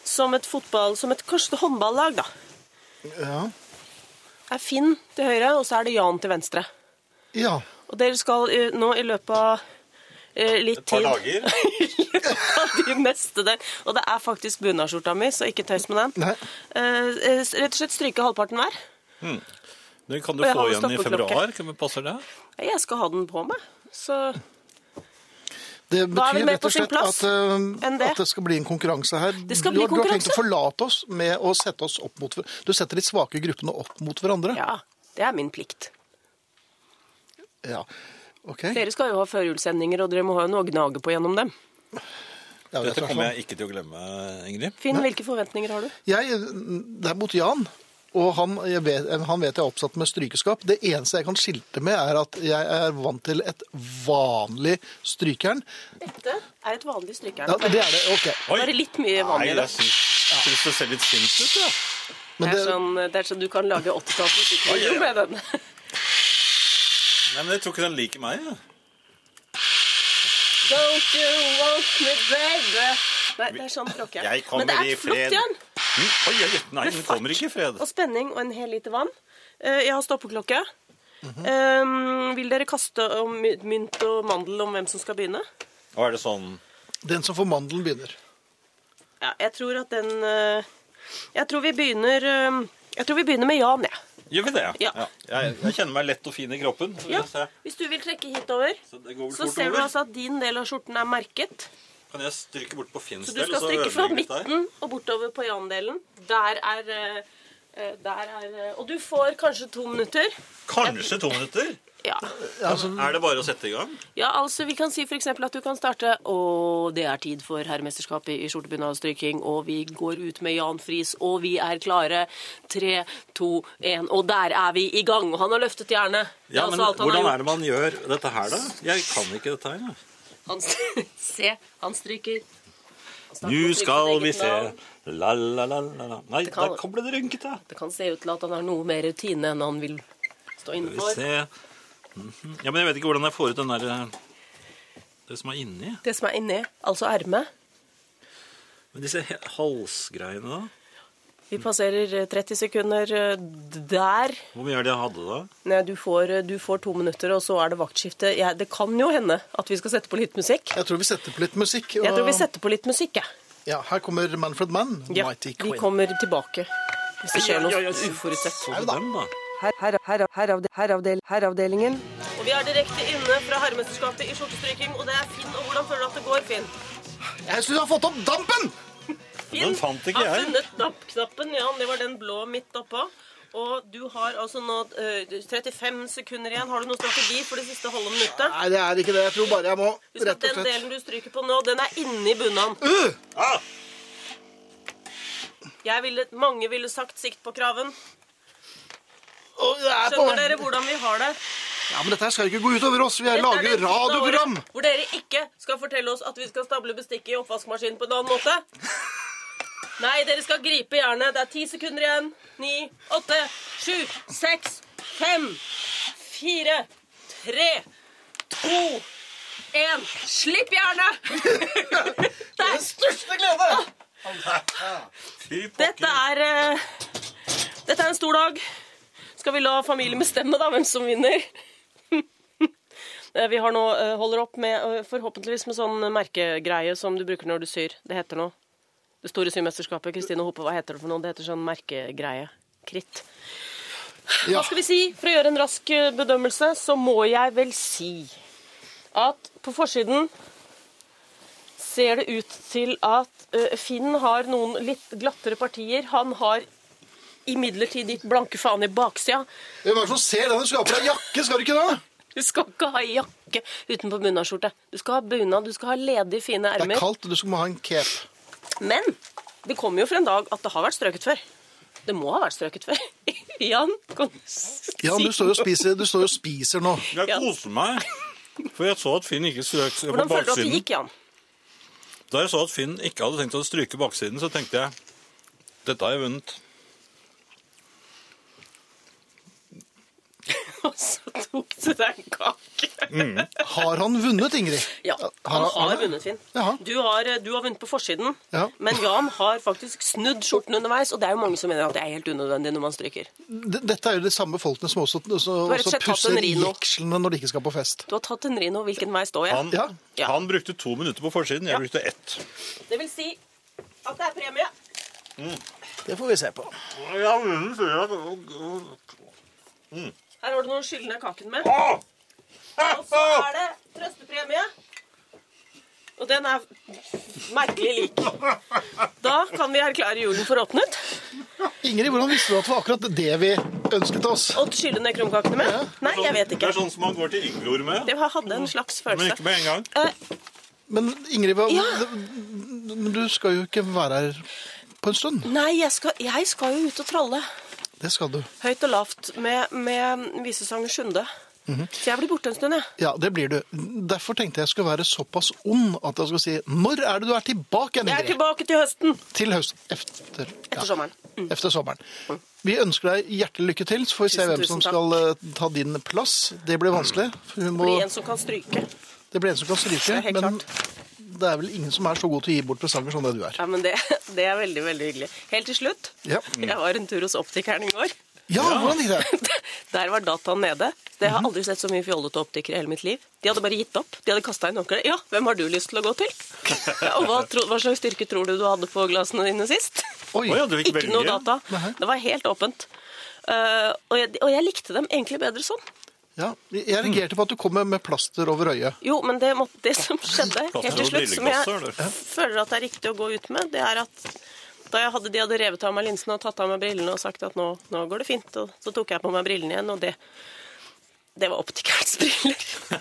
Speaker 7: som et fotball, som et kanskje et håndballag, da.
Speaker 2: Ja.
Speaker 7: Det er Finn til høyre, og så er det Jan til venstre.
Speaker 2: ja.
Speaker 7: Og dere skal eh, nå i løpet av eh, litt
Speaker 3: Et par
Speaker 7: tid
Speaker 3: dager.
Speaker 7: av de neste der. Og det er faktisk bunadsskjorta mi, så ikke tøys med den.
Speaker 2: Nei.
Speaker 7: Eh, eh, rett og slett stryke halvparten hver.
Speaker 3: Den kan du
Speaker 7: Og jeg
Speaker 3: få
Speaker 7: har
Speaker 3: igjen i
Speaker 7: stoppeklokke.
Speaker 3: februar. Kan vi passe det?
Speaker 7: Jeg skal ha den på meg. Så
Speaker 2: Det
Speaker 7: Da er vi
Speaker 2: betyr
Speaker 7: mer
Speaker 2: rett
Speaker 7: på
Speaker 2: og
Speaker 7: sin
Speaker 2: slett at,
Speaker 7: plass
Speaker 2: eh,
Speaker 7: enn det.
Speaker 2: at det skal bli en konkurranse her.
Speaker 7: Det skal
Speaker 2: du,
Speaker 7: bli
Speaker 2: har- Du har tenkt å
Speaker 7: konkurranse.
Speaker 2: forlate oss med å sette oss opp mot hver- Du setter de svake gruppene opp mot hverandre.
Speaker 7: ja, det er min plikt.
Speaker 2: Ja. Ok. Ja,
Speaker 7: Dere skal jo ha førjulssendinger, og dere må ha noe å gnage på gjennom dem.
Speaker 2: det er
Speaker 3: Dette
Speaker 2: klart.
Speaker 7: sånn.
Speaker 3: kommer jeg ikke til å glemme, Ingrid.
Speaker 7: Finn, hvilke forventninger har du?
Speaker 2: Jeg, det er mot Jan, og han jeg vet, han vet jeg er oppsatt med strykeskap. Det eneste jeg kan skilte med, er at jeg er vant til et vanlig strykjern.
Speaker 7: Dette er et vanlig
Speaker 2: Ja,
Speaker 7: strykejern.
Speaker 2: det er det, ok.
Speaker 3: Oi!
Speaker 7: Bare litt mye vann
Speaker 3: Nei,
Speaker 7: i det.
Speaker 3: jeg syns, syns det ser litt sint ut, ja.
Speaker 7: Det
Speaker 2: Men
Speaker 7: er
Speaker 2: det,
Speaker 7: sånn, det er sånn du kan lage 80-tallsmusikk med den.
Speaker 3: Nei, men jeg tror ikke den liker meg. Ja.
Speaker 7: Don't you want me, baby? Nei, det er sånn tråkk jeg.
Speaker 3: Jeg kommer
Speaker 7: Men det er
Speaker 3: i
Speaker 7: flott
Speaker 3: fred.
Speaker 7: igjen.
Speaker 3: Mm, Oi, oi, oi. nei, den kommer ikke i fred.
Speaker 7: Og spenning og en hel liter vann. Eh, Jeg har stoppeklokke. Eh, vil dere kaste om my- mynt og mandel om hvem som skal begynne?
Speaker 3: Og er det sånn
Speaker 2: den som får mandelen begynner.
Speaker 7: Ja, jeg tror at den eh, Jeg tror vi begynner eh, Jeg tror vi begynner med Jan, jeg.
Speaker 3: Gjør vi det?
Speaker 7: Ja.
Speaker 3: Jeg, jeg kjenner meg lett og fin i kroppen. Så, vi
Speaker 7: Ja.
Speaker 3: får se.
Speaker 7: Hvis du vil trekke hitover,
Speaker 3: så det går vel
Speaker 7: så
Speaker 3: fort
Speaker 7: ser du
Speaker 3: over.
Speaker 7: altså at din del av skjorten er merket.
Speaker 3: Kan jeg stryke bort på Finns
Speaker 7: Så du skal strikke fra midten og bortover på Jan-delen. Der er eh, eh, der er, eh, og du får kanskje to minutter.
Speaker 3: Kanskje to minutter?
Speaker 7: Ja,
Speaker 3: Er det bare å sette i gang?
Speaker 7: ja altså Vi kan si f.eks. at du kan starte Og det er tid for herremesterskapet i skjortebunadstryking, og vi går ut med Jan Friis, og vi er klare. Tre, to, én, og der er vi i gang! Og han har løftet jernet. Det er
Speaker 3: Ja,
Speaker 7: altså
Speaker 3: men
Speaker 7: alt han har
Speaker 3: Hvordan
Speaker 7: gjort.
Speaker 3: er det man gjør dette her, da? Jeg kan ikke dette her. jeg.
Speaker 7: Han, se, han stryker. Han starter
Speaker 3: Nå
Speaker 7: å stryke
Speaker 3: skal
Speaker 7: sitt
Speaker 3: vi
Speaker 7: eget
Speaker 3: se
Speaker 7: navn.
Speaker 3: La, la, la, la, la. Nei,
Speaker 7: kan-
Speaker 3: der kom det rynkete.
Speaker 7: Det kan se ut til at han har noe mer rutine enn han vil stå inne
Speaker 3: Skal vi
Speaker 7: for.
Speaker 3: se Mhm. Ja, men jeg vet ikke hvordan jeg får ut den der eh, Det som er inni.
Speaker 7: Det som er inni, altså ermet
Speaker 3: Men disse he- halsgreiene, da?
Speaker 7: Vi passerer eh, 30 sekunder eh, d- der.
Speaker 3: Hvor mye er det jeg hadde da?
Speaker 7: Nei, du får, eh, du får to minutter, og så er det vaktskifte. Jeg, det kan jo hende at vi skal sette på litt musikk.
Speaker 2: Jeg tror vi setter på litt musikk.
Speaker 7: Jeg tror
Speaker 2: og-
Speaker 7: vi setter på litt musikk, jeg.
Speaker 2: Ja, her kommer Manfred Mann,
Speaker 7: Ja,
Speaker 2: Mighty
Speaker 7: vi
Speaker 2: Queen.
Speaker 7: kommer tilbake hvis det skjer
Speaker 3: Ja,
Speaker 7: noe
Speaker 3: ja, ja,
Speaker 7: uforutsett.
Speaker 3: Så du den, da?
Speaker 1: Herreavdelingen.
Speaker 7: Og vi er direkte inne fra herremesterskapet i skjortestryking, og det er Finn. Og hvordan føler du at det går, Finn?
Speaker 2: Jeg syns du har fått opp dampen!
Speaker 3: Den fant ikke
Speaker 7: har
Speaker 3: jeg.
Speaker 7: funnet nappknappen, ja, det var den blå midt oppå. Og du har altså nå eh, 35 sekunder igjen. Har du noen strategi for det siste halve minuttet?
Speaker 2: Nei, det er ikke det. Jeg tror bare jeg må
Speaker 7: Husk at
Speaker 2: rett og
Speaker 7: den
Speaker 2: slett Uh!
Speaker 7: delen du stryker på nå, den er inni bunaden.
Speaker 3: Ah!
Speaker 7: Jeg ville, mange ville sagt sikt på kraven.
Speaker 2: Å, jeg er på.
Speaker 7: Skjønner dere hvordan vi har det?
Speaker 2: Ja, Men dette her skal jo ikke gå ut over oss. Vi
Speaker 7: Dette er
Speaker 2: lager
Speaker 7: den tiden av året
Speaker 2: radioprogram.
Speaker 7: Hvor dere ikke skal fortelle oss at vi skal stable bestikket i oppvaskmaskinen på en annen måte. Nei, dere skal gripe jernet. Det er ti sekunder igjen. Ni, åtte, sju, seks, fem, fire, tre, to, én. Slipp jernet! Der.
Speaker 2: Største glede!
Speaker 3: Fy
Speaker 7: Dette
Speaker 3: pokker.
Speaker 7: er eh, Dette er en stor dag. Skal vi la familien bestemme da hvem som vinner? Eh, Vi har nå, eh, holder opp med eh, forhåpentligvis med sånn merkegreie som du bruker når du syr. Det heter noe. Det store symesterskapet. Kristine Hope, hva heter det for noe? Det heter sånn merkegreie. Kritt.
Speaker 2: Ja.
Speaker 7: Hva skal vi si? For å gjøre en rask eh, bedømmelse, så må jeg vel si at på forsiden ser det ut til at eh, Finn har noen litt glattere partier. Han har imidlertid ditt blanke faen i baksida.
Speaker 2: Hvem er det som ser denne skapet? Jakke, skal du ikke det?
Speaker 7: Du skal ikke ha jakke utenpå bunadsskjorte. Du skal ha bunad, du skal ha ledige, fine
Speaker 2: Det er
Speaker 7: ermer.
Speaker 2: kaldt, du skal må ha en cape.
Speaker 7: Men det kommer jo fra en dag at det har vært strøket før. Det må ha vært strøket før. Jan, kan du s-
Speaker 2: Jan, du
Speaker 7: si-
Speaker 2: står jo og spiser, du står jo og spiser nå.
Speaker 7: Ja.
Speaker 3: Jeg koser meg. For jeg så at Finn ikke strøk på
Speaker 7: Hvordan føler du at det
Speaker 3: baksiden.
Speaker 7: gikk, Jan?
Speaker 3: Da jeg så at Finn ikke hadde tenkt å stryke baksiden, så tenkte jeg dette har jeg vunnet.
Speaker 7: lukter det en kake.
Speaker 2: Har han vunnet, Ingrid?
Speaker 7: Ja, han har vunnet, Finn.
Speaker 2: Jaha.
Speaker 7: Du har, eh, du har vunnet på forsiden,
Speaker 2: Ja.
Speaker 7: men Jan har faktisk snudd skjorten underveis, og det er jo mange som mener at det er helt unødvendig når man stryker.
Speaker 2: D- Dette er jo de samme folkene som også, også,
Speaker 7: har rett og
Speaker 2: også
Speaker 7: slett tatt
Speaker 2: pusser
Speaker 7: en Rino.
Speaker 2: jekslene når de ikke skal på fest.
Speaker 7: Du har tatt en rino, hvilken vei står jeg?
Speaker 3: Han,
Speaker 2: Ja.
Speaker 7: Ja.
Speaker 3: han brukte to minutter på forsiden, jeg brukte ett.
Speaker 7: Det vil si at det er premie.
Speaker 2: Det får vi se på.
Speaker 7: Her har du noen skyldne kaken med. Og så er det trøstepremie. Og den er merkelig lik. Da kan vi erklære julen for åpnet.
Speaker 2: Ingrid, hvordan visste du at det var akkurat det vi ønsket oss?
Speaker 7: Og skylle ned krumkakene med? Nei, jeg vet
Speaker 3: Det
Speaker 7: ikke.
Speaker 3: er sånn som man går til Inglor med,
Speaker 7: Det hadde en slags
Speaker 3: men ikke
Speaker 7: følelse.
Speaker 3: med en gang.
Speaker 7: Eh,
Speaker 2: Men Ingrid, hva,
Speaker 7: Ja.
Speaker 2: men du skal jo ikke være her på en stund.
Speaker 7: Nei, jeg skal, jeg skal jo ut og tralle.
Speaker 2: Det skal du.
Speaker 7: Høyt og lavt med, med visesanger Sunde.
Speaker 3: Mhm.
Speaker 7: Så jeg blir borte en stund, jeg.
Speaker 2: Ja, det blir du. Derfor tenkte jeg skulle være såpass ond at jeg skulle si når er det du er tilbake igjen,
Speaker 7: Jeg er
Speaker 2: Ingrid?
Speaker 7: tilbake til høsten.
Speaker 2: Til høsten. Efter,
Speaker 7: Etter sommeren. Mm.
Speaker 2: Efter sommeren. Vi ønsker deg hjertelig lykke til, så får vi se
Speaker 7: Tusen,
Speaker 2: hvem som
Speaker 7: tusen takk.
Speaker 2: skal eh, ta din plass. Det blir vanskelig. for Hun må,
Speaker 7: Bli en som kan stryke.
Speaker 2: det blir en som kan
Speaker 7: Det
Speaker 2: stryke,
Speaker 7: er helt
Speaker 2: men
Speaker 7: klart.
Speaker 2: det er vel ingen som er så god til å gi bort presanger som det du er.
Speaker 7: Ja, men det, det er veldig, veldig hyggelig. Helt til slutt.
Speaker 2: Ja,
Speaker 7: Jeg var en tur hos optikeren i går.
Speaker 2: ja hvordan gikk det?
Speaker 7: Der var dataen nede.
Speaker 3: Mhm.
Speaker 7: Det har jeg aldri sett så mye fjollete optikere i hele mitt liv. De hadde bare gitt opp. De hadde kasta inn håndkleet. Ja, hvem har du lyst til å gå til? Ja, og hva, tro, hva slags styrke tror du du hadde på glassene dine sist?
Speaker 2: Oi,
Speaker 3: Å ja, du fikk
Speaker 7: Ikke noe
Speaker 3: velge.
Speaker 7: data. Det var helt åpent. Eh, og, jeg, og jeg likte dem egentlig bedre sånn.
Speaker 2: ja. Jeg reagerte på at du kom med- med plaster over øyet.
Speaker 7: Jo, men det, måtte, det som skjedde helt til
Speaker 3: Plaster og
Speaker 7: slutt, som jeg
Speaker 3: brilleglasser, eller?
Speaker 7: føler at det er riktig å gå ut med, det er at da jeg hadde, de hadde revet av meg linsene og tatt av meg brillene og sagt at nå, nå går det fint, og så tok jeg på meg brillene igjen, og det, det var optikerens briller.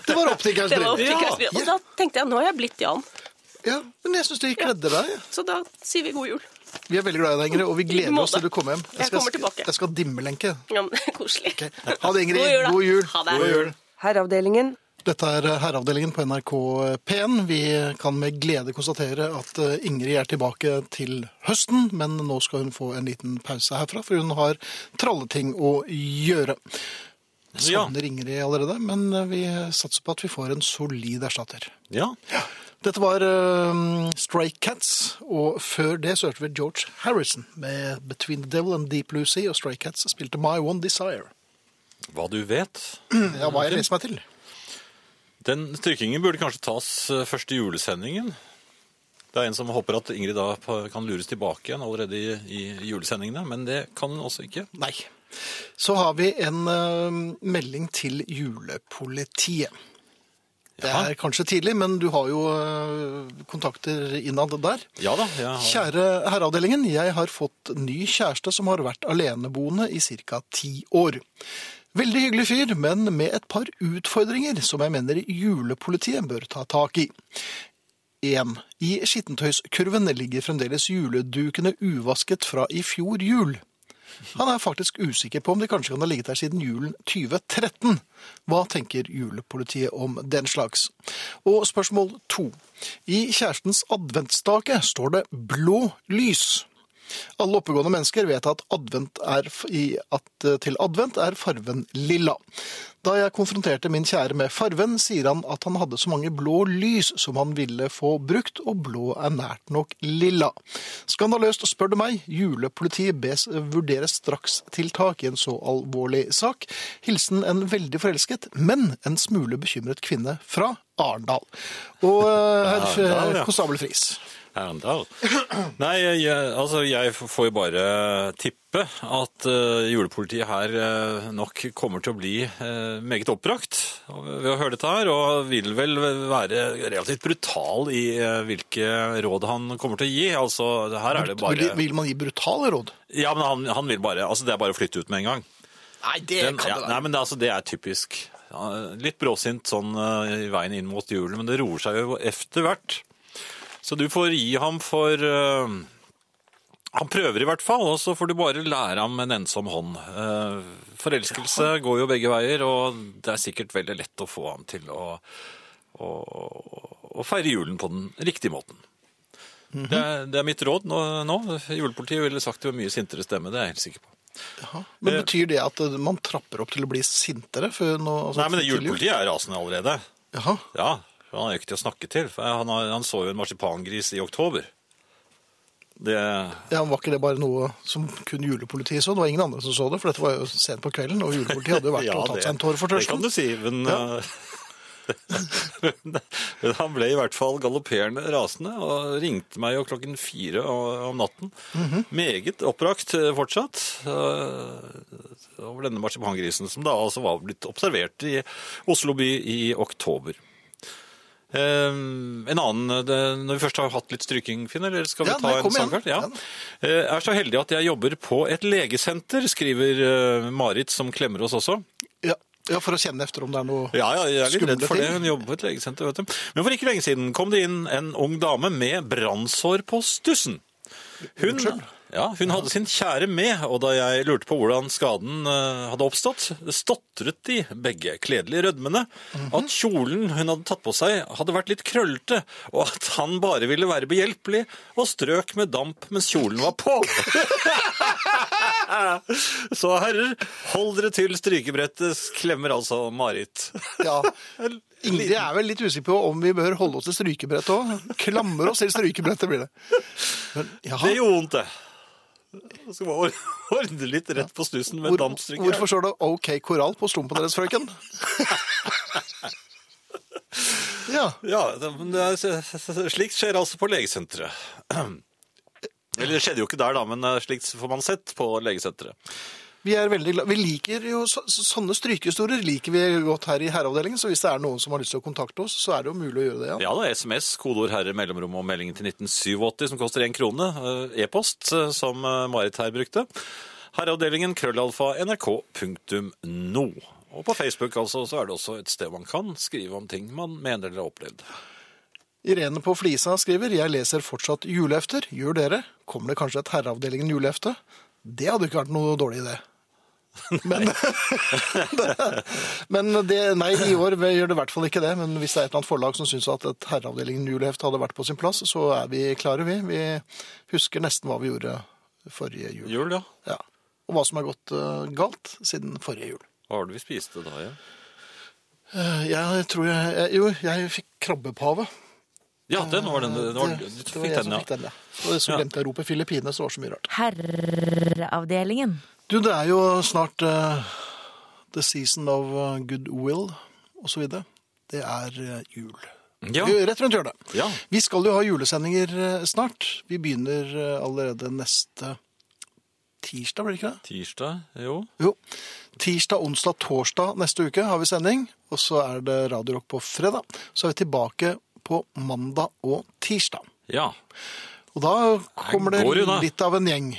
Speaker 2: Det var optikerens
Speaker 7: Det var
Speaker 2: briller.
Speaker 7: optikerens briller. Og da tenkte jeg, nå har jeg blitt Jan,
Speaker 2: Ja, men jeg syns de kledde deg.
Speaker 7: så da sier vi god jul.
Speaker 2: Vi er veldig glad i deg, Ingrid, og vi gleder oss
Speaker 7: måte.
Speaker 2: til du kommer hjem.
Speaker 7: Jeg kommer tilbake.
Speaker 2: Jeg skal ha dimmelenke.
Speaker 7: Ja, men koselig.
Speaker 2: Ok. Ha det, Ingrid.
Speaker 7: God jul, da.
Speaker 2: God jul.
Speaker 7: Ha det.
Speaker 2: God jul.
Speaker 7: Herreavdelingen.
Speaker 2: Dette er eh, Herreavdelingen på NRK P1. Vi kan med glede konstatere at eh, Ingrid er tilbake til høsten, men nå skal hun få en liten pause herfra, for hun har tralleting å gjøre. Jeg
Speaker 3: Ja.
Speaker 2: Savner Ingrid allerede, men eh, vi satser på at vi får en solid erstatter.
Speaker 3: Ja.
Speaker 2: Dette var eh, Stray Cats, og før det så hørte vi George Harrison med Between the Devil and Deep Blue Sea, og Stray Cats spilte My One Desire.
Speaker 3: Hva du vet.
Speaker 2: Ja, hva jeg leser meg til.
Speaker 3: Den strykingen burde kanskje tas eh, første julesendingen. Det er en som håper at Ingrid da pa- kan lures tilbake igjen allerede i, i julesendingene, men det kan hun også ikke.
Speaker 2: Nei. Så har vi en eh, melding til julepolitiet. Det
Speaker 3: Jaha.
Speaker 2: er kanskje tidlig, men du har jo eh, kontakter innad der.
Speaker 3: Ja da, jeg har...
Speaker 2: Kjære herreavdelingen, jeg har fått ny kjæreste som har vært aleneboende i ca. ti år. Veldig hyggelig fyr, men med et par utfordringer som jeg mener julepolitiet bør ta tak i. 1. I skittentøyskurven ligger fremdeles juledukene uvasket fra i fjor jul. Han er faktisk usikker på om de kanskje kan ha ligget der siden julen 2013. Hva tenker julepolitiet om den slags? Og spørsmål to. I kjærestens adventsstake står det blå lys. Alle oppegående mennesker vet at, advent er, f- i, at eh, til advent er farven lilla. Da jeg konfronterte min kjære med farven, sier han at han hadde så mange blå lys som han ville få brukt, og blå er nært nok lilla. Skandaløst, spør du meg. Julepolitiet bes vurdere strakstiltak i en så alvorlig sak. Hilsen en veldig forelsket, men en smule bekymret kvinne fra Arendal. Og eh,
Speaker 3: Arendal,
Speaker 2: herr
Speaker 3: ja.
Speaker 2: eh, konstabel Friis.
Speaker 3: Arendal. Nei, jeg, altså jeg får jo bare tippe at eh, julepolitiet her eh, nok kommer til å bli eh, meget oppbrakt ved å høre dette her, og vil vel være relativt brutal i eh, hvilke råd han kommer til å gi. Altså, her er det
Speaker 2: Vil,
Speaker 3: bare...
Speaker 2: vil man gi brutale råd?
Speaker 3: Ja, men han, han vil bare... Altså, det er bare å flytte ut med en gang.
Speaker 2: Nei, det
Speaker 3: Den- ja, Nei, men det, er altså, det er typisk. Ja, Litt bråsint sånn eh, i veien inn mot julen, men det roer seg jo efter hvert. Så du får gi ham for eh, Han prøver i hvert fall, og så får du bare lære ham en ensom hånd. Eh, forelskelse går jo begge veier, og det er sikkert veldig lett å få ham til å, å, å feire julen på den riktige måten. Mhm. det, er, det er mitt råd nå. nå. Julepolitiet ville sagt det med mye sintere stemme, det er jeg helt sikker på.
Speaker 2: Men
Speaker 3: Eh,
Speaker 2: betyr det at eh, man trapper opp til å bli sintere? Før nå, altså,
Speaker 3: Nei, men det
Speaker 2: til jul?
Speaker 3: julepolitiet er rasende allerede.
Speaker 2: Jaha.
Speaker 3: Ja, for han er jo ikke til å snakke til. For han, har, han så jo en marsipangris i oktober. Det,
Speaker 2: Ja, men Var ikke det bare noe som kun julepolitiet så? Det var ingen andre som så det, for dette var jo sent på kvelden, og julepolitiet hadde jo vært
Speaker 3: Ja,
Speaker 2: og tatt
Speaker 3: det-
Speaker 2: seg en tår for
Speaker 3: Det
Speaker 2: tørsten.
Speaker 3: kan du si, men
Speaker 2: Ja.
Speaker 3: eh, men- men han ble i hvert fall galopperende rasende og ringte meg jo klokken fire o- om natten.
Speaker 2: Mhm.
Speaker 3: Meget opprakt eh, fortsatt eh, over denne marsipangrisen, som da altså var blitt observert i Oslo by i oktober. Eh, en annen, det, Når vi først har hatt litt stryking, Finn, eller skal vi
Speaker 2: Ja,
Speaker 3: ta
Speaker 2: nei,
Speaker 3: en
Speaker 2: kom igjen.
Speaker 3: sangkart? Ja.
Speaker 2: Ja.
Speaker 3: Eh, Er så heldig at jeg jobber på et legesenter, skriver eh, Marit, som klemmer oss også.
Speaker 2: Ja, ja, For å kjenne efter om det er noe
Speaker 3: Ja, ja, jeg er litt
Speaker 2: Skumle
Speaker 3: redd for det.
Speaker 2: ting.
Speaker 3: Hun jobber på et legesenter, vet du. Men for ikke lenge siden kom det inn en ung dame med brannsår på stussen. Hun, ja, hun hadde sin kjære med, og da jeg lurte på hvordan skaden eh, hadde oppstått, stotret de begge, kledelig rødmende,
Speaker 2: Mhm.
Speaker 3: at kjolen hun hadde tatt på seg hadde vært litt krøllete, og at han bare ville være behjelpelig og strøk med damp mens kjolen var på. Så herrer, hold dere til strykebrettet, klemmer altså Marit.
Speaker 2: Ja. Ingrid er vel litt usikker på om vi bør holde oss til strykebrettet òg. Klamre oss til strykebrettet, blir det. Men, jaha.
Speaker 3: Det gjorde vondt, det. Så skal man or- ordne litt rett på snusen med
Speaker 2: Hvor,
Speaker 3: dampstrykker.
Speaker 2: hvorfor står det OK korall på slumpen deres, frøken? ja.
Speaker 3: Ja, det, men det er, slikt skjer altså på legesenteret. Eller det skjedde jo ikke der, da, men eh, slikt får man sett på legesenteret.
Speaker 2: Vi er veldig glad. Vi liker jo så, så- sånne strykehistorier liker vi godt her i herreavdelingen, så hvis det er noen som har lyst til å kontakte oss, så er det jo mulig å gjøre det. Ja.
Speaker 3: Ja da, SMS, kodeord 'herre', mellomrom og meldingen til 1987 som koster én krone. eh, E-post, eh, som eh, Marit her brukte. Herreavdelingen krøllalfa nrk.no. Og på Facebook altså, så er det også et sted man kan skrive om ting man mener eller har opplevd.
Speaker 2: Irene på Flisa skriver «Jeg leser fortsatt julehefter. Gjør dere? Kommer det kanskje et herreavdelingen julehefte? Det hadde ikke vært noe dårlig idé. Men, men det, nei, i år gjør det i hvert fall ikke det. Men hvis det er et eller annet forlag som syns at et herreavdelingen julehefte hadde vært på sin plass, så er vi klare, vi. Vi husker nesten hva vi gjorde forrige jul.
Speaker 3: Jul, ja.
Speaker 2: Ja. Og hva som har gått eh, galt siden forrige jul.
Speaker 3: Hva var det vi spiste da, ja?
Speaker 2: Eh, jeg tror jeg, jeg Jo, jeg fikk krabbepave.
Speaker 3: Ja, den var den. den var,
Speaker 2: Det-
Speaker 3: du
Speaker 2: det var jeg
Speaker 3: fikk den,
Speaker 2: som
Speaker 3: ja.
Speaker 2: fikk den, ja. Og så
Speaker 3: Ja.
Speaker 2: glemte jeg å rope Filippine, så det var så mye rart.
Speaker 1: Herreavdelingen.
Speaker 2: Du, det er jo snart eh, the season of eh, goodwill og så videre. Det er eh, jul.
Speaker 3: Ja.
Speaker 2: Vi er Rett rundt hjørnet.
Speaker 3: Ja.
Speaker 2: Vi skal jo ha julesendinger eh, snart. Vi begynner eh, allerede neste tirsdag, blir det ikke det?
Speaker 3: Tirsdag, jo.
Speaker 2: Jo. Tirsdag, onsdag, torsdag neste uke har vi sending. Og så er det Radio Rock på fredag. Så er vi tilbake på mandag og tirsdag.
Speaker 3: Ja.
Speaker 2: Og da kommer det
Speaker 3: Her går hun, da.
Speaker 2: litt av en gjeng.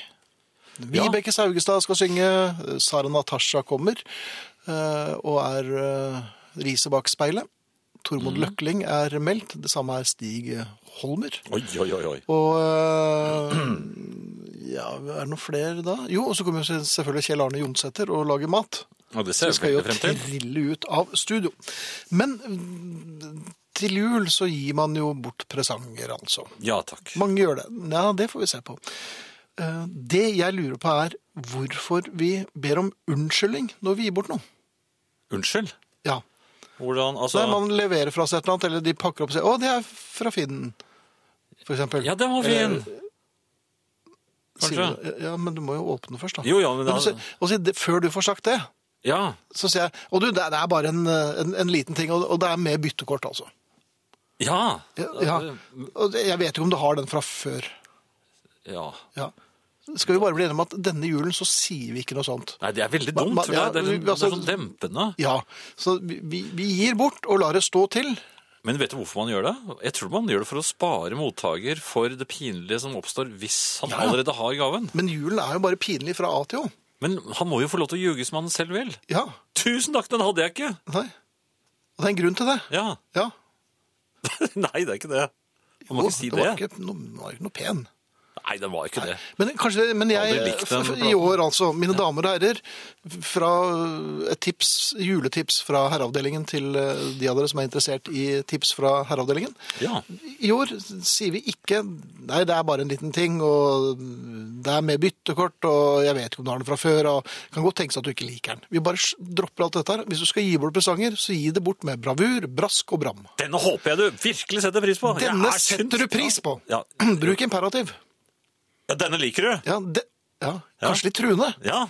Speaker 2: Vibeke Saugestad skal synge, Sara Natasha kommer eh, og er eh, riset bak speilet. Tormod
Speaker 3: Mm.
Speaker 2: Løkling er meldt, det samme er Stig Holmer.
Speaker 3: Oi, oi, oi. oi.
Speaker 2: Og eh, ja, er det noen flere da? Jo, og så kommer jo selvfølgelig Kjell Arne Jonsæter og lager mat.
Speaker 3: Ja, det
Speaker 2: Så vi
Speaker 3: ser jeg
Speaker 2: skal jo
Speaker 3: veldig frem til.
Speaker 2: trille ut av studio. Men mm, til jul så gir man jo bort presanger, altså.
Speaker 3: Ja, takk.
Speaker 2: Mange gjør det. Ja, det får vi se på. Eh, Det jeg lurer på er hvorfor vi ber om unnskyldning når vi gir bort noe.
Speaker 3: Unnskyld?
Speaker 2: Ja.
Speaker 3: Hvordan,
Speaker 2: Så
Speaker 3: altså...
Speaker 2: er man leverer fra seg et eller annet, eller de pakker opp og sier 'Å, det er fra Finn', for eksempel.
Speaker 3: Ja, det var fin.
Speaker 2: Eh, Sier
Speaker 3: kanskje.
Speaker 2: du- Ja, men du må jo åpne først, da.
Speaker 3: Jo, ja, men
Speaker 2: du
Speaker 3: da-
Speaker 2: sier- Og sier, det- før du får sagt det,
Speaker 3: Ja.
Speaker 2: så sier jeg 'Å du, det er- det er bare en, eh, en, en liten ting', og og det er med byttekort, altså.
Speaker 3: Ja. Eh,
Speaker 2: Ja, ja. Og det- jeg vet jo ikke om du har den fra før.
Speaker 3: Ja.
Speaker 2: Ja. Skal vi bare bli enige om at denne julen så sier vi ikke noe sånt?
Speaker 3: Nei, det er veldig
Speaker 2: Ma-
Speaker 3: dumt,
Speaker 2: ma-
Speaker 3: tror jeg. Det er,
Speaker 2: ja,
Speaker 3: litt- det
Speaker 2: altså-
Speaker 3: er sånn dempende.
Speaker 2: Ja, så vi, vi, vi gir bort og lar det stå til.
Speaker 3: Men vet du hvorfor man gjør det? Jeg tror man gjør det for å spare mottaker for det pinlige som oppstår hvis han
Speaker 2: Ja.
Speaker 3: allerede har gaven.
Speaker 2: Men julen er jo bare pinlig fra A til Å.
Speaker 3: Men han må jo få lov til å ljuge som han selv vil.
Speaker 2: Ja,
Speaker 3: Tusen takk, den hadde jeg ikke!
Speaker 2: nei. Og det er en grunn til det.
Speaker 3: Ja.
Speaker 2: Ja.
Speaker 3: Nei, det er ikke det. Man må
Speaker 2: Jo,
Speaker 3: ikke si
Speaker 2: det
Speaker 3: det.
Speaker 2: var ikke noe, den var ikke noe pen.
Speaker 3: Nei, Nei, den var ikke det.
Speaker 2: Men kanskje, men jeg,
Speaker 3: Aldri likt den
Speaker 2: f- f- i
Speaker 3: platen.
Speaker 2: år altså, mine damer og herrer, fra et tips, juletips fra herreavdelingen til eh, de av dere som er interessert i tips fra herreavdelingen.
Speaker 3: Ja.
Speaker 2: I år sier vi ikke, nei, det er bare en liten ting, og det er med byttekort, og jeg vet ikke om du har den fra før, og det kan godt tenkes at du ikke liker den. Vi bare s- dropper alt dette her. Hvis du skal gi bort presanger, så gi det bort med bravur, brask og bram.
Speaker 3: Denne håper jeg du virkelig setter pris på. Jeg
Speaker 2: Denne
Speaker 3: er
Speaker 2: setter du
Speaker 3: synd-
Speaker 2: pris på.
Speaker 3: Ja.
Speaker 2: Bruk imperativ.
Speaker 3: ja, denne liker du.
Speaker 2: Ja, det, ja, kanskje litt truende.
Speaker 3: Ja.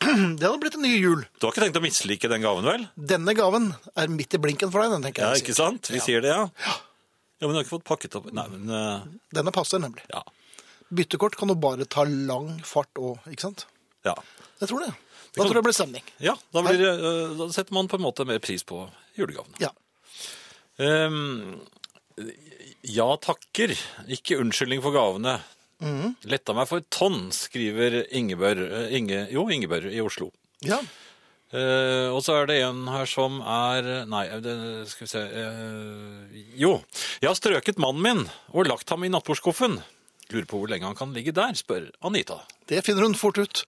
Speaker 2: Det hadde blitt en ny jul.
Speaker 3: Du har ikke tenkt å mislike den gaven, vel?
Speaker 2: Denne gaven er midt i blinken for deg, den tenker
Speaker 3: Ja,
Speaker 2: jeg.
Speaker 3: ikke sant? Vi sier det, ja. Ja, men du har ikke fått pakket opp Nei, men eh,
Speaker 2: Denne passer nemlig.
Speaker 3: Ja.
Speaker 2: Byttekort kan jo bare ta lang fart og, ikke sant?
Speaker 3: Ja.
Speaker 2: Jeg tror det. Da tror jeg det blir stemning.
Speaker 3: ja da, blir, det, eh, da setter man på en måte mer pris på julegavene.
Speaker 2: Ja.
Speaker 3: Ehm, ja takker. Ikke unnskyldning for gavene. Letta meg for et tonn, skriver Ingebørg eh, Inge, Jo, Ingebørg i Oslo.
Speaker 2: ja.
Speaker 3: Eh, og så er det en her som er Nei, det, skal vi se eh, Jo. Jeg har strøket mannen min og lagt ham i nattbordskuffen. Lurer på hvor lenge han kan ligge der, spør Anita.
Speaker 2: Det finner hun fort ut.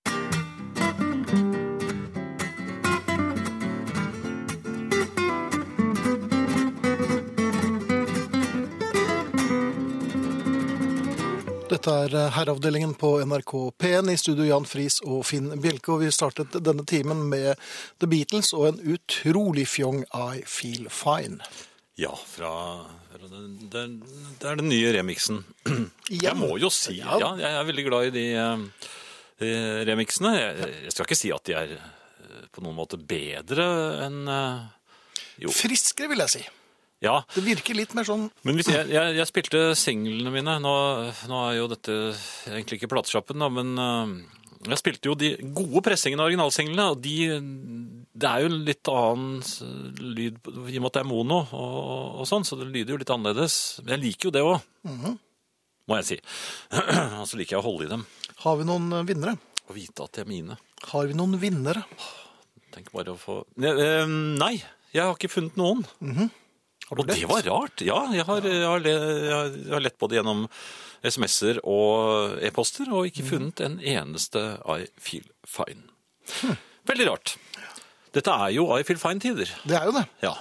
Speaker 2: Dette er eh, herreavdelingen på NRK P1 i studio Jan Friis og Finn Bjelke. Og vi startet denne timen med The Beatles og en utrolig fjong I Feel Fine.
Speaker 3: Ja, fra Det, det, det er den nye remixen. Jeg må jo si
Speaker 2: Ja.
Speaker 3: ja. jeg er veldig glad i de eh, remixene. Jeg, jeg skal ikke si at de er eh, på noen måte bedre enn eh, Jo.
Speaker 2: Friskere, vil jeg si.
Speaker 3: Ja,
Speaker 2: Det virker litt mer sånn
Speaker 3: Men hvis jeg, jeg, jeg spilte singlene mine nå, nå er jo dette egentlig ikke platesjappen, da, men øh, jeg spilte jo de gode pressingene av originalsinglene. Og de, det er jo litt annen s- lyd på- i og med at det er mono, og, og sånn, så det lyder jo litt annerledes. Men jeg liker jo det òg, Mhm. må jeg si. Og så liker jeg å holde i dem
Speaker 2: Har vi noen vinnere?
Speaker 3: og vite at de er mine.
Speaker 2: Har vi noen vinnere?
Speaker 3: Tenk bare å få Ne- eh, Nei, jeg har ikke funnet noen. og det var rart. Ja, jeg har, jeg har, le- jeg har- jeg har lett på det gjennom SMS-er og e-poster, og ikke funnet en eneste I feel fine. Veldig rart. Dette er jo I feel fine-tider.
Speaker 2: Det er jo det.
Speaker 3: Ja.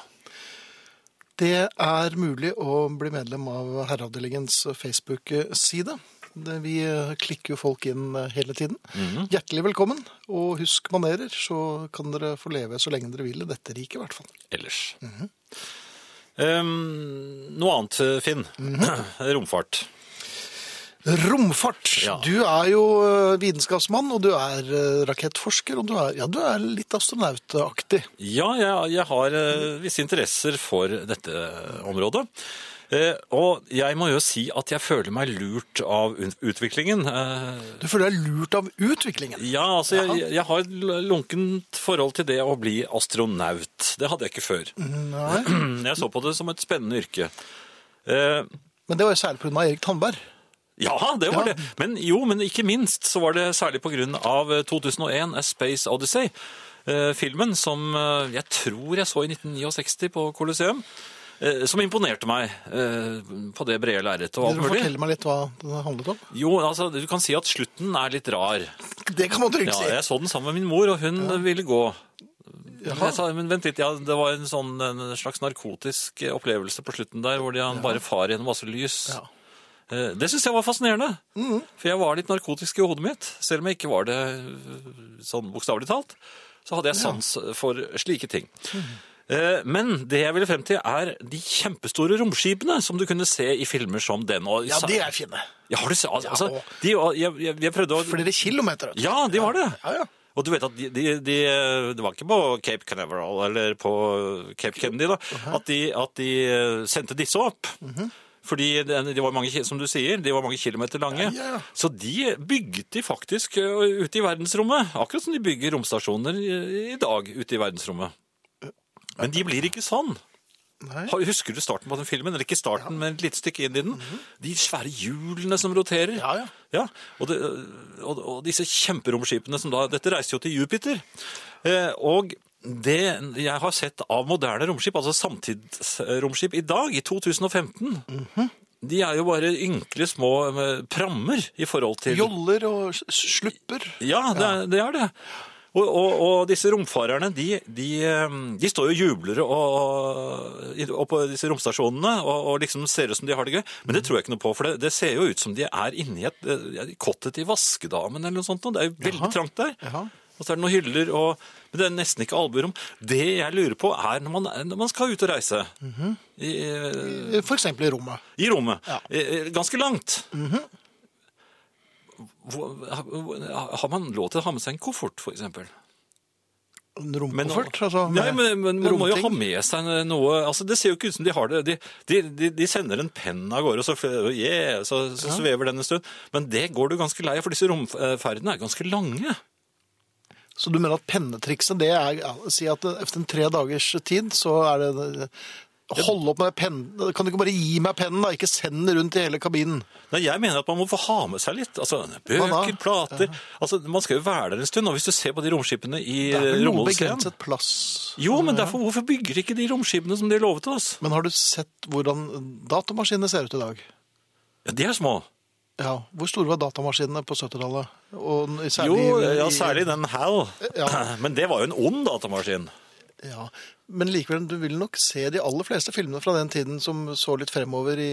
Speaker 2: Det er mulig å bli medlem av Herreavdelingens Facebook-side. Det- Vi eh, klikker jo folk inn eh, hele tiden.
Speaker 3: Mhm.
Speaker 2: Hjertelig velkommen, og husk manerer, så kan dere få leve så lenge dere vil i dette riket, i hvert fall.
Speaker 3: Ellers. Eh, noe annet, Finn. Romfart.
Speaker 2: Romfart!
Speaker 3: Ja.
Speaker 2: Du er jo eh, vitenskapsmann, og du er eh, rakettforsker, og du er, ja, du er litt astronautaktig.
Speaker 3: Ja, jeg, jeg har eh, visse interesser for dette området. Eh, og jeg må jo si at jeg føler meg lurt av ut- utviklingen. Eh,
Speaker 2: Du føler deg lurt av utviklingen.
Speaker 3: ja, altså, jeg, jeg har et l- lunkent forhold til det å bli astronaut. Det hadde jeg ikke før.
Speaker 2: Nei.
Speaker 3: Jeg så på det som et spennende yrke. Eh,
Speaker 2: Men det var jo særlig pga. Erik Tandberg.
Speaker 3: ja, det var
Speaker 2: Ja.
Speaker 3: det. Men jo, men ikke minst så var det særlig på grunn av eh, 2001 A Space Odyssey. eh, Filmen som eh, jeg tror jeg så i 1969 på Colosseum. eh, Som imponerte meg eh, på det brede lerretet og
Speaker 2: Vil
Speaker 3: alt
Speaker 2: du
Speaker 3: mulig.
Speaker 2: fortelle meg litt hva det handlet om?
Speaker 3: Jo, altså, du kan si at slutten er litt rar.
Speaker 2: Det kan man trygt
Speaker 3: Ja,
Speaker 2: si.
Speaker 3: jeg så den sammen med min mor, og hun ville gå.
Speaker 2: Jaha.
Speaker 3: Jeg sa, men vent litt, ja, det var en, sånn, en slags narkotisk opplevelse på slutten der, hvor de, han bare far gjennom masse lys.
Speaker 2: Ja. Mm.
Speaker 3: Eh, Det syns jeg var fascinerende. For jeg var litt narkotisk i hodet mitt. Selv om jeg ikke var det øh, sånn bokstavelig talt, så hadde jeg sans for slike ting.
Speaker 2: Mm.
Speaker 3: Eh, Men det jeg ville frem til, er de kjempestore romskipene som du kunne se i filmer som den. og-
Speaker 2: Ja, de er fine.
Speaker 3: Ja, har du se, al- altså,
Speaker 2: og-
Speaker 3: de, og jeg, jeg, jeg prøvde å
Speaker 2: Flere kilometer. vet du.
Speaker 3: Ja, de var det.
Speaker 2: Ja, ja.
Speaker 3: Og du vet at de, de, de Det var ikke på Cape Canaveral eller på Cape Kennedy, da. At de, at de eh, sendte disse opp.
Speaker 2: Mhm.
Speaker 3: Fordi den- de var mange, ki- som du sier, de var mange kilometer lange.
Speaker 2: Ja, ja.
Speaker 3: Så de bygget de faktisk ø, ute i verdensrommet. Akkurat som de bygger romstasjoner i, i dag ute i verdensrommet.
Speaker 2: Eh,
Speaker 3: Men de blir ikke sånn.
Speaker 2: Nei.
Speaker 3: Har- Husker du starten på den filmen? Eller ikke starten, men et lite stykke inn i den. De svære hjulene som roterer.
Speaker 2: Mhm. Ja, ja.
Speaker 3: og, det, og, og disse kjemperomskipene som da Dette reiste jo til Jupiter. Eh, og det jeg
Speaker 2: Mhm.
Speaker 3: har sett av moderne romskip, altså samtidsromskip i dag, i 2015 De er jo bare ynkelig små eh, prammer i forhold til
Speaker 2: Joller og s- slupper.
Speaker 3: Ja, det, er- det er det. Og, og, og disse romfarerne, de, de, eh, de står jo og jubler og, og, oppå disse romstasjonene og, og liksom ser ut som de har det gøy. Men
Speaker 2: Mm.
Speaker 3: det tror jeg ikke noe på, for det, det ser jo ut som de er inni et eh, kottet i Vaskedamen eller noe sånt. og Det er jo veldig
Speaker 2: Jaha.
Speaker 3: trangt der.
Speaker 2: Jaha.
Speaker 3: Og så er det noen hyller, og, men det er nesten ikke alburom. Det jeg lurer på er når man, når man skal ut og reise
Speaker 2: Mhm.
Speaker 3: i, eh,
Speaker 2: For eksempel i rommet.
Speaker 3: i rommet.
Speaker 2: Ja. Mhm.
Speaker 3: Eh, eh, Ganske langt. Hvor- ha- hvor- Har man lov til å ha med seg en koffert, for eksempel?
Speaker 2: En
Speaker 3: Men-
Speaker 2: romkoffert. Altså,
Speaker 3: Nei, men, men man må jo
Speaker 2: romting.
Speaker 3: ha med seg noe altså, Det ser jo ikke ut som de har det. De, de, de, de sender en penn av gårde, og så, fl- yeah, så, så svever den en stund. Men det går du ganske lei av, for disse romferdene er ganske lange.
Speaker 2: Så du mener at pennetrikset, det er ja, Si at etter en tre dagers tid, så er det eh, Hold opp med pennen. Kan du ikke bare gi meg pennen, da? Ikke send den rundt i hele kabinen.
Speaker 3: Nei, jeg mener at man må få ha med seg litt. Altså, bøker,
Speaker 2: Hva da?
Speaker 3: plater altså, Man skal jo være der en stund. Og hvis du ser på de romskipene i
Speaker 2: Det er vel noe
Speaker 3: Romolsøen
Speaker 2: begrenset plass.
Speaker 3: Jo, men derfor, hvorfor bygger ikke de romskipene som de lovet oss?
Speaker 2: Men har du sett hvordan datamaskinene ser ut i dag?
Speaker 3: Ja, de er små.
Speaker 2: Ja, Hvor store var datamaskinene på 70-tallet? Og n-
Speaker 3: Jo,
Speaker 2: særlig i-
Speaker 3: ja, særlig den Hal.
Speaker 2: Ja.
Speaker 3: Men det var jo en ond datamaskin.
Speaker 2: Ja, Men likevel, du vil nok se de aller fleste filmene fra den tiden som så litt fremover, i,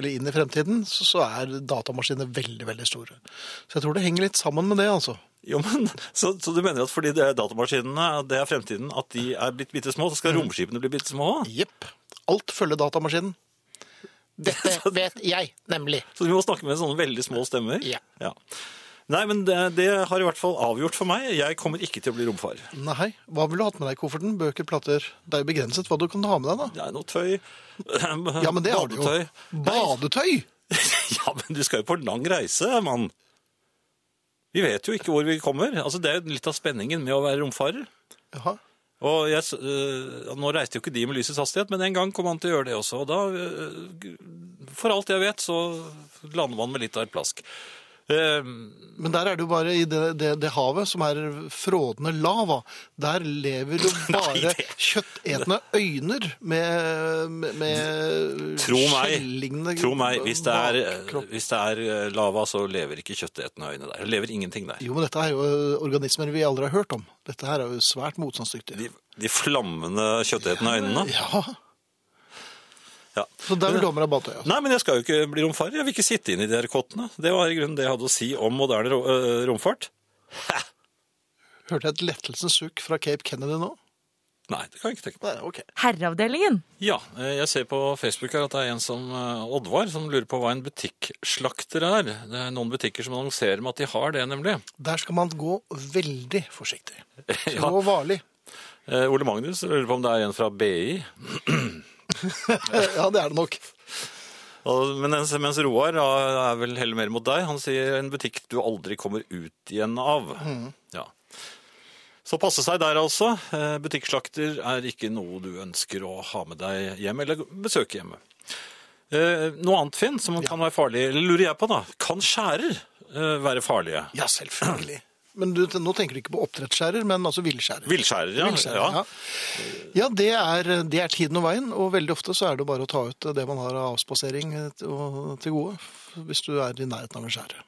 Speaker 2: eller inn i fremtiden, så, så er datamaskinene veldig, veldig store. Så jeg tror det henger litt sammen med det, altså.
Speaker 3: Jo, men, så, så du mener at fordi det er datamaskinene det er fremtiden, at de er blitt bitte små, så skal
Speaker 2: Mm.
Speaker 3: romskipene bli bitte små òg?
Speaker 2: Jepp. Alt følger datamaskinen. Dette vet jeg, nemlig.
Speaker 3: Så vi må snakke med sånne veldig små stemmer?
Speaker 2: Ja.
Speaker 3: Nei, men det, det har i hvert fall avgjort for meg. Jeg kommer ikke til å bli romfar.
Speaker 2: Nei, hva ville du hatt med deg i kofferten? Bøker, plater? Det er jo begrenset hva du kan ha med deg, da.
Speaker 3: Det er noe tøy.
Speaker 2: Ja, men det har du jo.
Speaker 3: Badetøy.
Speaker 2: Badetøy!
Speaker 3: Ja, men du skal jo på en lang reise, mann. Vi vet jo ikke hvor vi kommer. Altså, det er jo litt av spenningen med å være romfarer.
Speaker 2: Jaha.
Speaker 3: Og jeg, s- øh, nå reiste jo ikke de med lysets hastighet, men en gang kom han til å gjøre det også. Og da, øh, g- for alt jeg vet, så lander man med litt av et plask. Ehm,
Speaker 2: Men der er det jo bare i det, det, det havet som er frådende lava. Der lever jo bare
Speaker 3: det-
Speaker 2: kjøttetende øyner med, med, med
Speaker 3: Tro meg,
Speaker 2: skjellignende
Speaker 3: tro meg hvis, det er, øh,
Speaker 2: bakkropp.
Speaker 3: hvis det er øh, lava, så lever ikke kjøttetende øyne der. Det lever ingenting der.
Speaker 2: Jo, men dette er jo eh, organismer vi aldri har hørt om. Dette her er jo svært motstandsdyktige.
Speaker 3: De, de flammende kjøttetende øynene.
Speaker 2: Ja,
Speaker 3: Ja.
Speaker 2: så der vil dommer av Batøy. Altså.
Speaker 3: Nei, men jeg skal jo ikke bli romfarer. Jeg vil ikke sitte inn i de her kottene. Det var i grunnen det jeg hadde å si om moderne ro- øh, romfart.
Speaker 2: Hørte jeg et lettelsens sukk fra Cape Kennedy nå?
Speaker 3: Nei, det kan jeg ikke tenke meg.
Speaker 2: Nei, ok.
Speaker 1: Herreavdelingen.
Speaker 3: Ja, eh, jeg ser på Facebook her at det er en som eh, Oddvar som lurer på hva en butikkslakter er. Det er noen butikker som annonserer med at de har det, nemlig.
Speaker 2: Der skal man gå veldig forsiktig.
Speaker 3: Ja.
Speaker 2: Trå varlig.
Speaker 3: Eh, Ole Magnus lurer på om det er en fra BI.
Speaker 2: Ja, det er det nok.
Speaker 3: Og- Men mens, mens Roar da, er vel heller mer mot deg. Han sier en butikk du aldri kommer ut igjen av.
Speaker 2: Mm.
Speaker 3: Ja. Så passe seg der altså. Eh, Butikkslakter er ikke noe du ønsker å ha med deg hjem, eller besøke hjemme. Eh, Noe annet, Finn, som kan være farlig, eller lurer jeg på da. Kan skjærer eh, være farlige?
Speaker 2: Ja, selvfølgelig. Men du, nå tenker du ikke på oppdrettsskjærer, men altså villskjærer.
Speaker 3: Villskjærer, ja.
Speaker 2: Villskjærer,
Speaker 3: ja.
Speaker 2: ja. Ja, det er, det er tiden og veien, og veldig ofte så er det bare å ta ut det man har av avspasering og- til gode, hvis du er i nærheten av en skjære.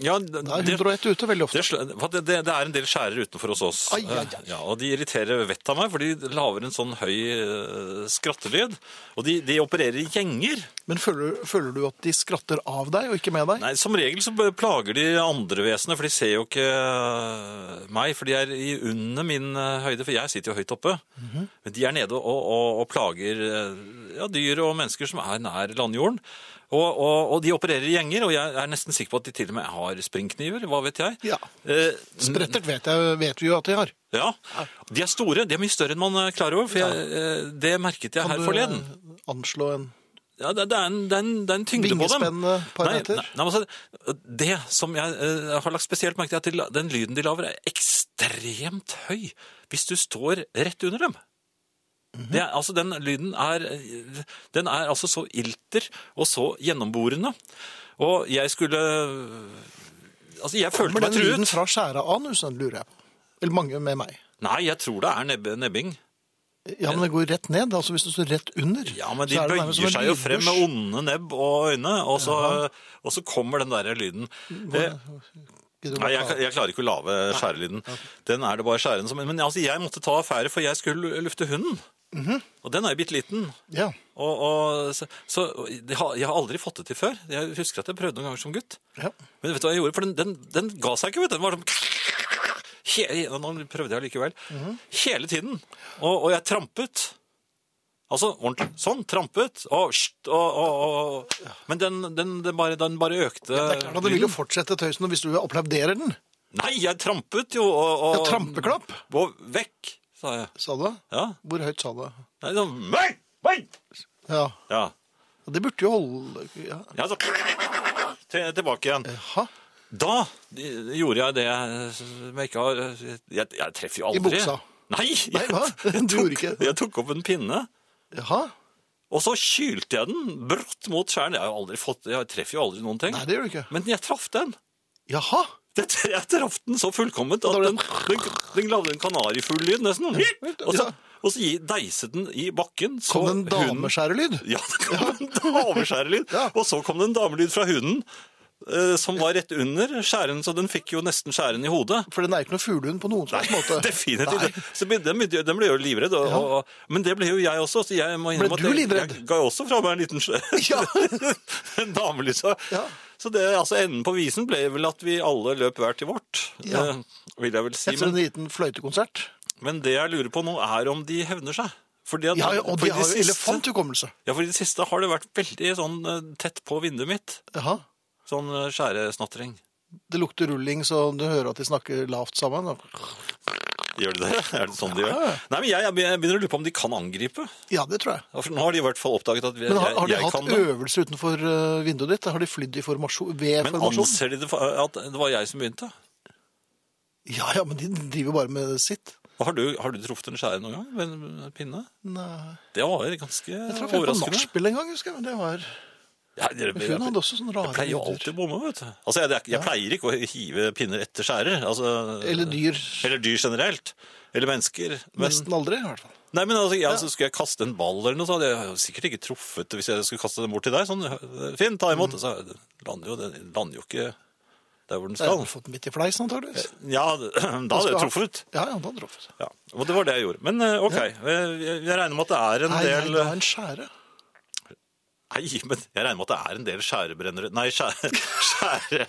Speaker 3: ja det,
Speaker 2: Det er
Speaker 3: det,
Speaker 2: 101 ute veldig ofte.
Speaker 3: sl- hva, det, det er en del skjærer utenfor hos oss.
Speaker 2: Ai, ai, ai.
Speaker 3: Ja, og de irriterer vettet av meg, for de lager en sånn høy eh, skrattelyd. Og de, de opererer i gjenger.
Speaker 2: Men føler, du- føler du at de skratter av deg og ikke med deg?
Speaker 3: Nei, Som regel så plager de andre vesener, for de ser jo ikke eh, meg. For de er i under min eh, høyde, for jeg sitter jo høyt oppe.
Speaker 2: Mhm.
Speaker 3: Men de er nede og, og, og plager eh, ja, dyr og mennesker som er nær landjorden. Og, og, og de opererer i gjenger, og jeg er nesten sikker på at de til og med har springkniver. Hva vet jeg?
Speaker 2: Ja.
Speaker 3: Eh,
Speaker 2: Sprettert vet, jeg, vet vi jo at de har.
Speaker 3: ja. De er store. De er mye større enn man er klar over, for jeg, eh, det merket jeg
Speaker 2: Kan
Speaker 3: her
Speaker 2: du,
Speaker 3: forleden.
Speaker 2: eh, Anslå en...
Speaker 3: Ja, det, det, er en, det, er en, det er en tyngde på dem.
Speaker 2: Vingespennende par
Speaker 3: Nei,
Speaker 2: meter.
Speaker 3: Nei, nei, men altså, det som jeg eh, har lagt spesielt merke til, er at de la- den lyden de lager, er ekstremt høy hvis du står rett under dem.
Speaker 2: Mhm.
Speaker 3: det er, altså, den lyden er, eh, den er altså så ilter og så gjennomborende. Og jeg skulle Altså, jeg følte
Speaker 2: Kommer
Speaker 3: meg
Speaker 2: den lyden
Speaker 3: truet.
Speaker 2: fra skjæreanusen, lurer jeg på. Eller mange med meg.
Speaker 3: Nei, jeg tror det er nebb, nebbing.
Speaker 2: Ja, men det går rett ned. altså Hvis du står rett under.
Speaker 3: Ja, men de
Speaker 2: så er det
Speaker 3: bøyer
Speaker 2: nærmest som en
Speaker 3: seg jo frem med
Speaker 2: lyddusj.
Speaker 3: onde nebb og øyne, og så, og så kommer den der lyden. Eh,
Speaker 2: Gidder du
Speaker 3: Nei,
Speaker 2: å
Speaker 3: jeg,
Speaker 2: ta-
Speaker 3: jeg klarer ikke å lage skjærelyden. Den er det bare skjæren som Men altså, jeg måtte ta affære, for jeg skulle lufte hunden.
Speaker 2: Mhm.
Speaker 3: Og den er jo bitte liten.
Speaker 2: Ja.
Speaker 3: Og, og, så så jeg, har, jeg har aldri fått det til før. Jeg husker at jeg prøvde noen ganger som gutt.
Speaker 2: ja.
Speaker 3: Men vet du hva jeg gjorde? For den, den, den ga seg ikke, vet du. Den var sånn... He- Nå prøvde jeg likevel.
Speaker 2: Mhm.
Speaker 3: Hele tiden. Og, og jeg trampet. Altså, ordentlig. Sånn, trampet. Og, sht, og, og, og. Men den, den, den, bare, den bare økte
Speaker 2: Det er klart at det
Speaker 3: Eh,
Speaker 2: vil jo fortsette tøysen hvis du applauderer den.
Speaker 3: Nei, jeg trampet jo. Og, og,
Speaker 2: Ja, trampeklapp,
Speaker 3: Og vekk, sa jeg.
Speaker 2: sa du.
Speaker 3: Ja.
Speaker 2: Hvor høyt sa du?
Speaker 3: Nei, sånn, «Nei, nei!»
Speaker 2: Ja.
Speaker 3: ja.
Speaker 2: Og Det burde jo holde ja.
Speaker 3: ja så, til, tilbake igjen.
Speaker 2: Jaha.
Speaker 3: Da gjorde jeg det jeg ikke har Jeg, jeg treffer jo
Speaker 2: I
Speaker 3: aldri.
Speaker 2: buksa?
Speaker 3: Nei, jeg,
Speaker 2: Nei, hva? Du
Speaker 3: Jeg tok,
Speaker 2: gjorde ikke det?
Speaker 3: jeg tok opp en pinne,
Speaker 2: Jaha.
Speaker 3: og så kylte jeg den brått mot skjæren. Jeg, har jo aldri fått, jeg treffer jo aldri noen ting.
Speaker 2: Nei, det gjør du ikke.
Speaker 3: Men jeg traff den.
Speaker 2: Jaha.
Speaker 3: Det, jeg traff den så fullkomment at
Speaker 2: Da ble
Speaker 3: den, den, den lagde en kanarifugllyd, nesten. Og så, og så gi- deiset den i bakken. Så
Speaker 2: Kom det en
Speaker 3: hunden-
Speaker 2: dameskjærelyd?
Speaker 3: Ja, det kom en dameskjærelyd.
Speaker 2: Ja.
Speaker 3: Og så kom det en damelyd fra hunden, eh, som var rett under skjæren, så den fikk jo nesten skjæren i hodet.
Speaker 2: For den er ikke noe fuglehund på noen som helst måte.
Speaker 3: Definitivt.
Speaker 2: Nei.
Speaker 3: Så ble- den, begynte- den ble jo livredd, og, og, men det ble jo jeg også. Så jeg må
Speaker 2: Ble
Speaker 3: innrømme
Speaker 2: du
Speaker 3: at jeg,
Speaker 2: livredd?
Speaker 3: jeg ga jo også fra meg en liten skje.
Speaker 2: Ja.
Speaker 3: en damelys.
Speaker 2: Ja.
Speaker 3: Så det, altså, enden på visen ble vel at vi alle løp hver til vårt,
Speaker 2: Ja.
Speaker 3: eh, vil jeg vel si.
Speaker 2: Etter en
Speaker 3: Men,
Speaker 2: liten fløytekonsert.
Speaker 3: men det jeg lurer på nå er om de hevner seg. Fordi at-
Speaker 2: Ja, ja, og
Speaker 3: for
Speaker 2: de har jo
Speaker 3: siste-
Speaker 2: elefanthukommelse.
Speaker 3: Ja, for i det siste har det vært veldig sånn eh, tett på vinduet mitt.
Speaker 2: Jaha.
Speaker 3: Sånn eh, skjæresnattring.
Speaker 2: Det lukter rulling, så du hører at de snakker lavt sammen.
Speaker 3: Gjør de det? Er det sånn de gjør?
Speaker 2: Ja.
Speaker 3: Nei, men jeg, jeg begynner å lure på om de kan angripe.
Speaker 2: Ja, det tror jeg.
Speaker 3: Ja, For nå har de i hvert fall oppdaget at vi- jeg,
Speaker 2: Men har, har de
Speaker 3: jeg kan
Speaker 2: hatt
Speaker 3: det.
Speaker 2: øvelse utenfor eh, vinduet ditt? Har de flydd i formasjon, ved
Speaker 3: Men
Speaker 2: formasjon?
Speaker 3: anser de det for at det var jeg som begynte?
Speaker 2: Ja, ja, men de driver bare med sitt.
Speaker 3: Og Har du, har du truffet en skjære noen gang med en pinne?
Speaker 2: Nei.
Speaker 3: Det var ganske
Speaker 2: Jeg traff en på
Speaker 3: overraskende.
Speaker 2: nachspiel en gang, husker jeg. men Det var...
Speaker 3: Ja, det-
Speaker 2: Men Hun hadde også sånne rare
Speaker 3: jeg pleier jo
Speaker 2: lyder.
Speaker 3: alltid å bomme, vet du. Altså, jeg, jeg pleier ikke å hive pinner etter skjærer. Altså,
Speaker 2: Eller dyr.
Speaker 3: Eller dyr generelt. Eller mennesker. Men,
Speaker 2: Nesten aldri, i hvert fall.
Speaker 3: nei, men altså, jeg, altså, skulle jeg kaste en ball eller noe, så hadde jeg jo sikkert ikke truffet det hvis jeg skulle kaste den bort til deg. Sånn, Finn, ta
Speaker 2: Mm.
Speaker 3: imot. Så lander jo, den lander jo ikke der hvor den
Speaker 2: Jeg
Speaker 3: skal.
Speaker 2: hadde fått den midt i fleisen, antageligvis.
Speaker 3: Ja, da hadde jeg truffet.
Speaker 2: Ja, ja, da hadde jeg truffet.
Speaker 3: Ja, og det var det jeg gjorde. Men eh, ok, eh, jeg, jeg regner med at det er
Speaker 2: Nei,
Speaker 3: en
Speaker 2: nei,
Speaker 3: del eh,
Speaker 2: det var en skjære.
Speaker 3: Nei, men jeg regner med at det er en del skjærebrennere Nei, skjære, skjære,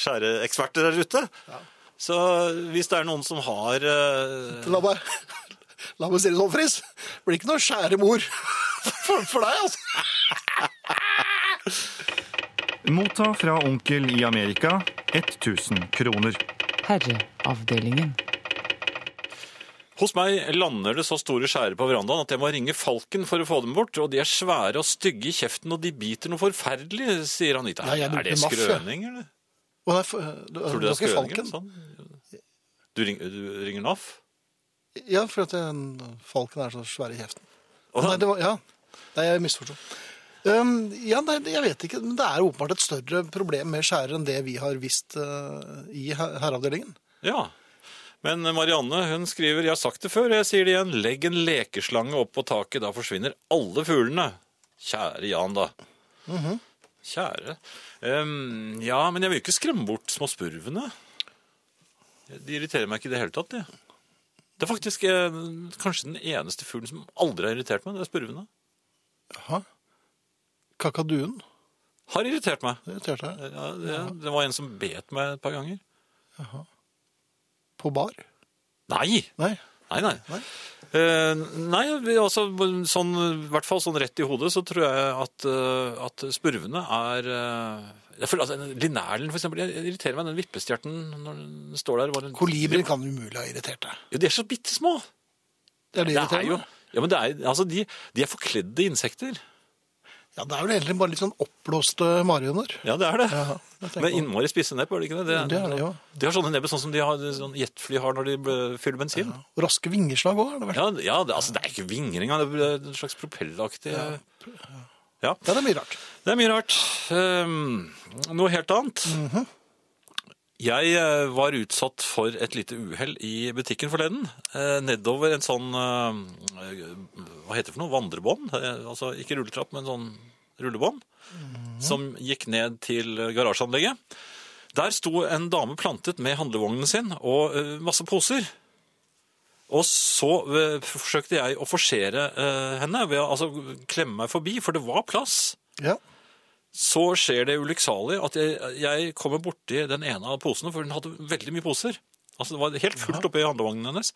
Speaker 3: skjæreeksperter der ute. Så hvis det er noen som har eh,
Speaker 2: La meg, la meg si det sånn, Friis. Blir ikke noe skjære mor for, for deg, altså.
Speaker 8: Motta fra onkel i Amerika 1000 kroner.
Speaker 9: Herreavdelingen.
Speaker 3: Hos meg lander det så store skjærer på verandaen at jeg må ringe Falken for å få dem bort. Og de er svære og stygge i kjeften, og de biter noe forferdelig, sier Anita.
Speaker 2: Nei, jeg lurte
Speaker 3: er det
Speaker 2: masse.
Speaker 3: skrøning, eller?
Speaker 2: Å, nei, for, du,
Speaker 3: Tror du det er
Speaker 2: ikke
Speaker 3: skrøning? eller
Speaker 2: falken?
Speaker 3: Sånn? Du, ring, du ringer NAF?
Speaker 2: Ja, for at eh, falken er så svær i kjeften.
Speaker 3: Å,
Speaker 2: Nei, det var, ja. Nei, jeg misforsto. Um, ja, nei, jeg vet ikke, men det er åpenbart et større problem med skjærer enn det vi har visst eh, i her- herreavdelingen.
Speaker 3: Ja. Men eh, Marianne hun skriver Jeg har sagt det før, jeg sier det igjen. Legg en lekeslange opp på taket, da forsvinner alle fuglene. Kjære Jan, da. Kjære. Ehm, ja, men jeg vil jo ikke skremme bort småspurvene. De irriterer meg ikke i det hele tatt, de. Det er faktisk eh, kanskje den eneste fuglen som aldri har irritert meg, det er spurvene.
Speaker 2: Jaha. Kakaduen
Speaker 3: Har irritert meg.
Speaker 2: det irriterte jeg.
Speaker 3: Ja, det, det var en som bet meg et par ganger.
Speaker 2: På bar?
Speaker 3: Nei!
Speaker 2: Nei.
Speaker 3: Nei, nei.
Speaker 2: Nei?
Speaker 3: Eh, nei, vi- altså, sånn, i hvert fall sånn rett i hodet så tror jeg at, eh, at spurvene er eh, jeg føler, altså, en- Linerlen, for eksempel. Jeg jeg irriterer meg den vippestjerten når den står der. Var en,
Speaker 2: Kolibrien kan umulig ha irritert deg.
Speaker 3: jo, de er så bitte små.
Speaker 2: Det er det,
Speaker 3: Det er
Speaker 2: irriterende.
Speaker 3: jo ja, men det er, altså, de, de er forkledde insekter.
Speaker 2: Ja, det er vel egentlig bare litt sånn oppblåste marihøner.
Speaker 3: Ja, det er det.
Speaker 2: Ja, jeg tenker
Speaker 3: Med
Speaker 2: på det.
Speaker 3: innmari spisse nebb, er det ikke det?
Speaker 2: Det er det, ja.
Speaker 3: De har sånne nebber sånn som de har, sånn jetfly har når de eh, fyller bensin.
Speaker 2: Og Raske vingeslag òg, har det vært.
Speaker 3: Ja, ja det, altså, det er ikke vinger engang. Det er en slags propellaktig ja.
Speaker 2: Ja, det er mye rart.
Speaker 3: Det er mye rart. Ehm, noe helt annet. Jeg eh, var utsatt for et lite uhell i butikken forleden. Eh, Nedover en sånn eh, Hva heter det for noe? Vandrebånd? Eh, Altså ikke rulletrapp, men sånn rullebånd. Som gikk ned til garasjeanlegget. Der sto en dame plantet med handlevognen sin og eh, masse poser. Og så eh, forsøkte jeg å forsere eh, henne ved å altså, klemme meg forbi, for det var plass
Speaker 2: Ja.
Speaker 3: så skjer det ulykksalig at jeg, jeg kommer borti den ene av posene, for hun hadde veldig mye poser. Altså Det var helt fullt oppi handlevognen hennes.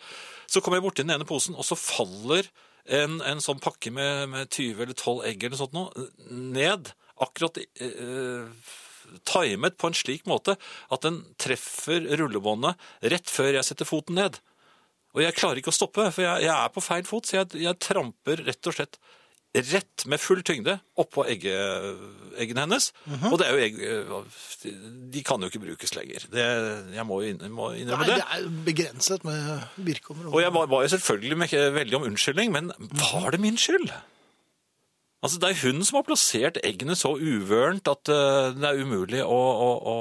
Speaker 3: Så kommer jeg borti den ene posen, og så faller en, en sånn pakke med, med 20 eller 12 egg eller noe sånt nå, ned. Akkurat eh, eh, timet på en slik måte at den treffer rullebåndet rett før jeg setter foten ned. Og jeg klarer ikke å stoppe, for jeg, jeg er på feil fot, så jeg, jeg tramper rett og slett rett med full tyngde oppå egge, eggene hennes.
Speaker 2: Mhm.
Speaker 3: Og det er jo egg øh, De kan jo ikke brukes lenger. Det, jeg må jo inn- må innrømme
Speaker 2: Nei,
Speaker 3: det.
Speaker 2: det er begrenset med virkeområdet.
Speaker 3: Og jeg var, var jo selvfølgelig med, veldig om unnskyldning, men var det min skyld? Altså, Det er hun som har plassert eggene så uvørent at eh, det er umulig å, å, å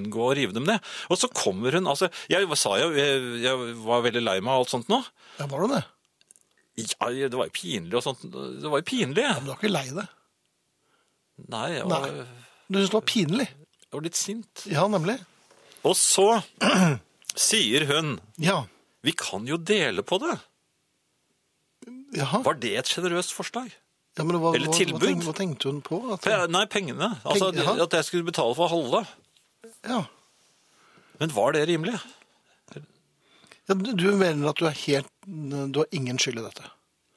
Speaker 3: unngå å rive dem ned. Og så kommer hun altså, Jeg sa jo jeg, jeg var veldig lei meg av alt sånt nå.
Speaker 2: Ja, var du det?
Speaker 3: Ja, det var jo pinlig og sånt. Det var jo pinlig.
Speaker 2: Men du var ikke lei deg.
Speaker 3: Nei, jeg var,
Speaker 2: Nei. Du syntes det var pinlig.
Speaker 3: jeg var litt sint.
Speaker 2: Ja, nemlig.
Speaker 3: Og så sier hun
Speaker 2: Ja.
Speaker 3: Vi kan jo dele på det.
Speaker 2: Jaha.
Speaker 3: Var det et sjenerøst forslag?
Speaker 2: Ja, men hva,
Speaker 3: Eller
Speaker 2: hva-
Speaker 3: tilbud?
Speaker 2: Hva, tenk- hva tenkte hun på? At,
Speaker 3: Pe- Nei, pengene. Altså
Speaker 2: Peng- jaha.
Speaker 3: at jeg skulle betale for halve.
Speaker 2: ja.
Speaker 3: Men var det rimelig?
Speaker 2: Ja, du du mener at du, er helt, du har ingen skyld i dette?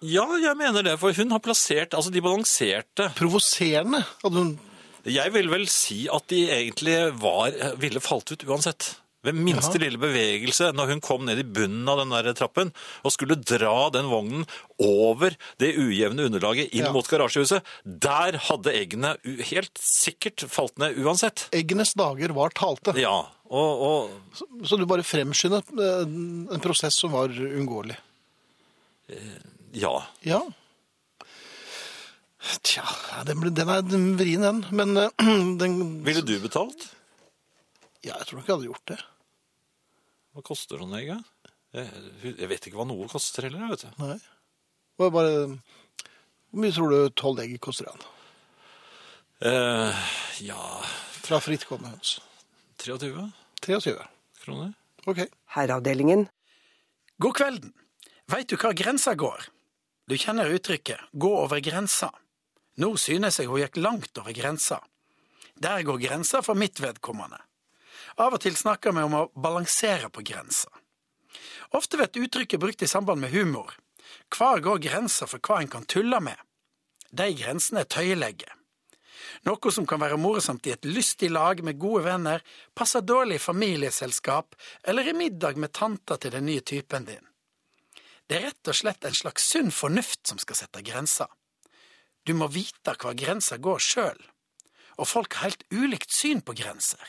Speaker 3: Ja, jeg mener det, for hun har plassert Altså, de balanserte.
Speaker 2: Provoserende hadde hun
Speaker 3: Jeg vil vel si at de egentlig var Ville falt ut uansett. Ved minste lille bevegelse, når hun kom ned i bunnen av den der trappen og skulle dra den vognen over det ujevne underlaget inn
Speaker 2: Ja.
Speaker 3: mot garasjehuset, der hadde eggene u- helt sikkert falt ned uansett.
Speaker 2: Eggenes dager var talte.
Speaker 3: Ja, og, og
Speaker 2: Så, så du bare fremskyndet eh, en prosess som var uunngåelig.
Speaker 3: ja.
Speaker 2: Ja. Tja, ja, den, ble- den er den vrien, den. Men eh, den
Speaker 3: Ville du betalt?
Speaker 2: Ja, jeg tror nok jeg hadde gjort det.
Speaker 3: Hva koster sånn egg? da? Jeg, jeg vet ikke hva noe koster heller, jeg, vet du.
Speaker 2: Nei. Det var bare Hvor mye tror du tolv egg koster han?
Speaker 3: Eh, ja,
Speaker 2: Fra frittgående høns.
Speaker 3: 23
Speaker 2: 23.
Speaker 3: kroner.
Speaker 2: OK.
Speaker 10: Herreavdelingen.
Speaker 11: God kvelden. Veit du hva grensa går? Du kjenner uttrykket 'gå over grensa'. Nå synes jeg hun gikk langt over grensa. Der går grensa for mitt vedkommende. Av og til snakker vi om å balansere på grensa. Ofte blir uttrykket brukt i samband med humor. Hvor går grensa for hva en kan tulle med? De grensene er tøyelegge. Noe som kan være morsomt i et lystig lag med gode venner, passer dårlig i familieselskap eller i middag med tanta til den nye typen din. Det er rett og slett en slags sunn fornuft som skal sette grenser. Du må vite hvor grensa går sjøl, og folk har helt ulikt syn på grenser.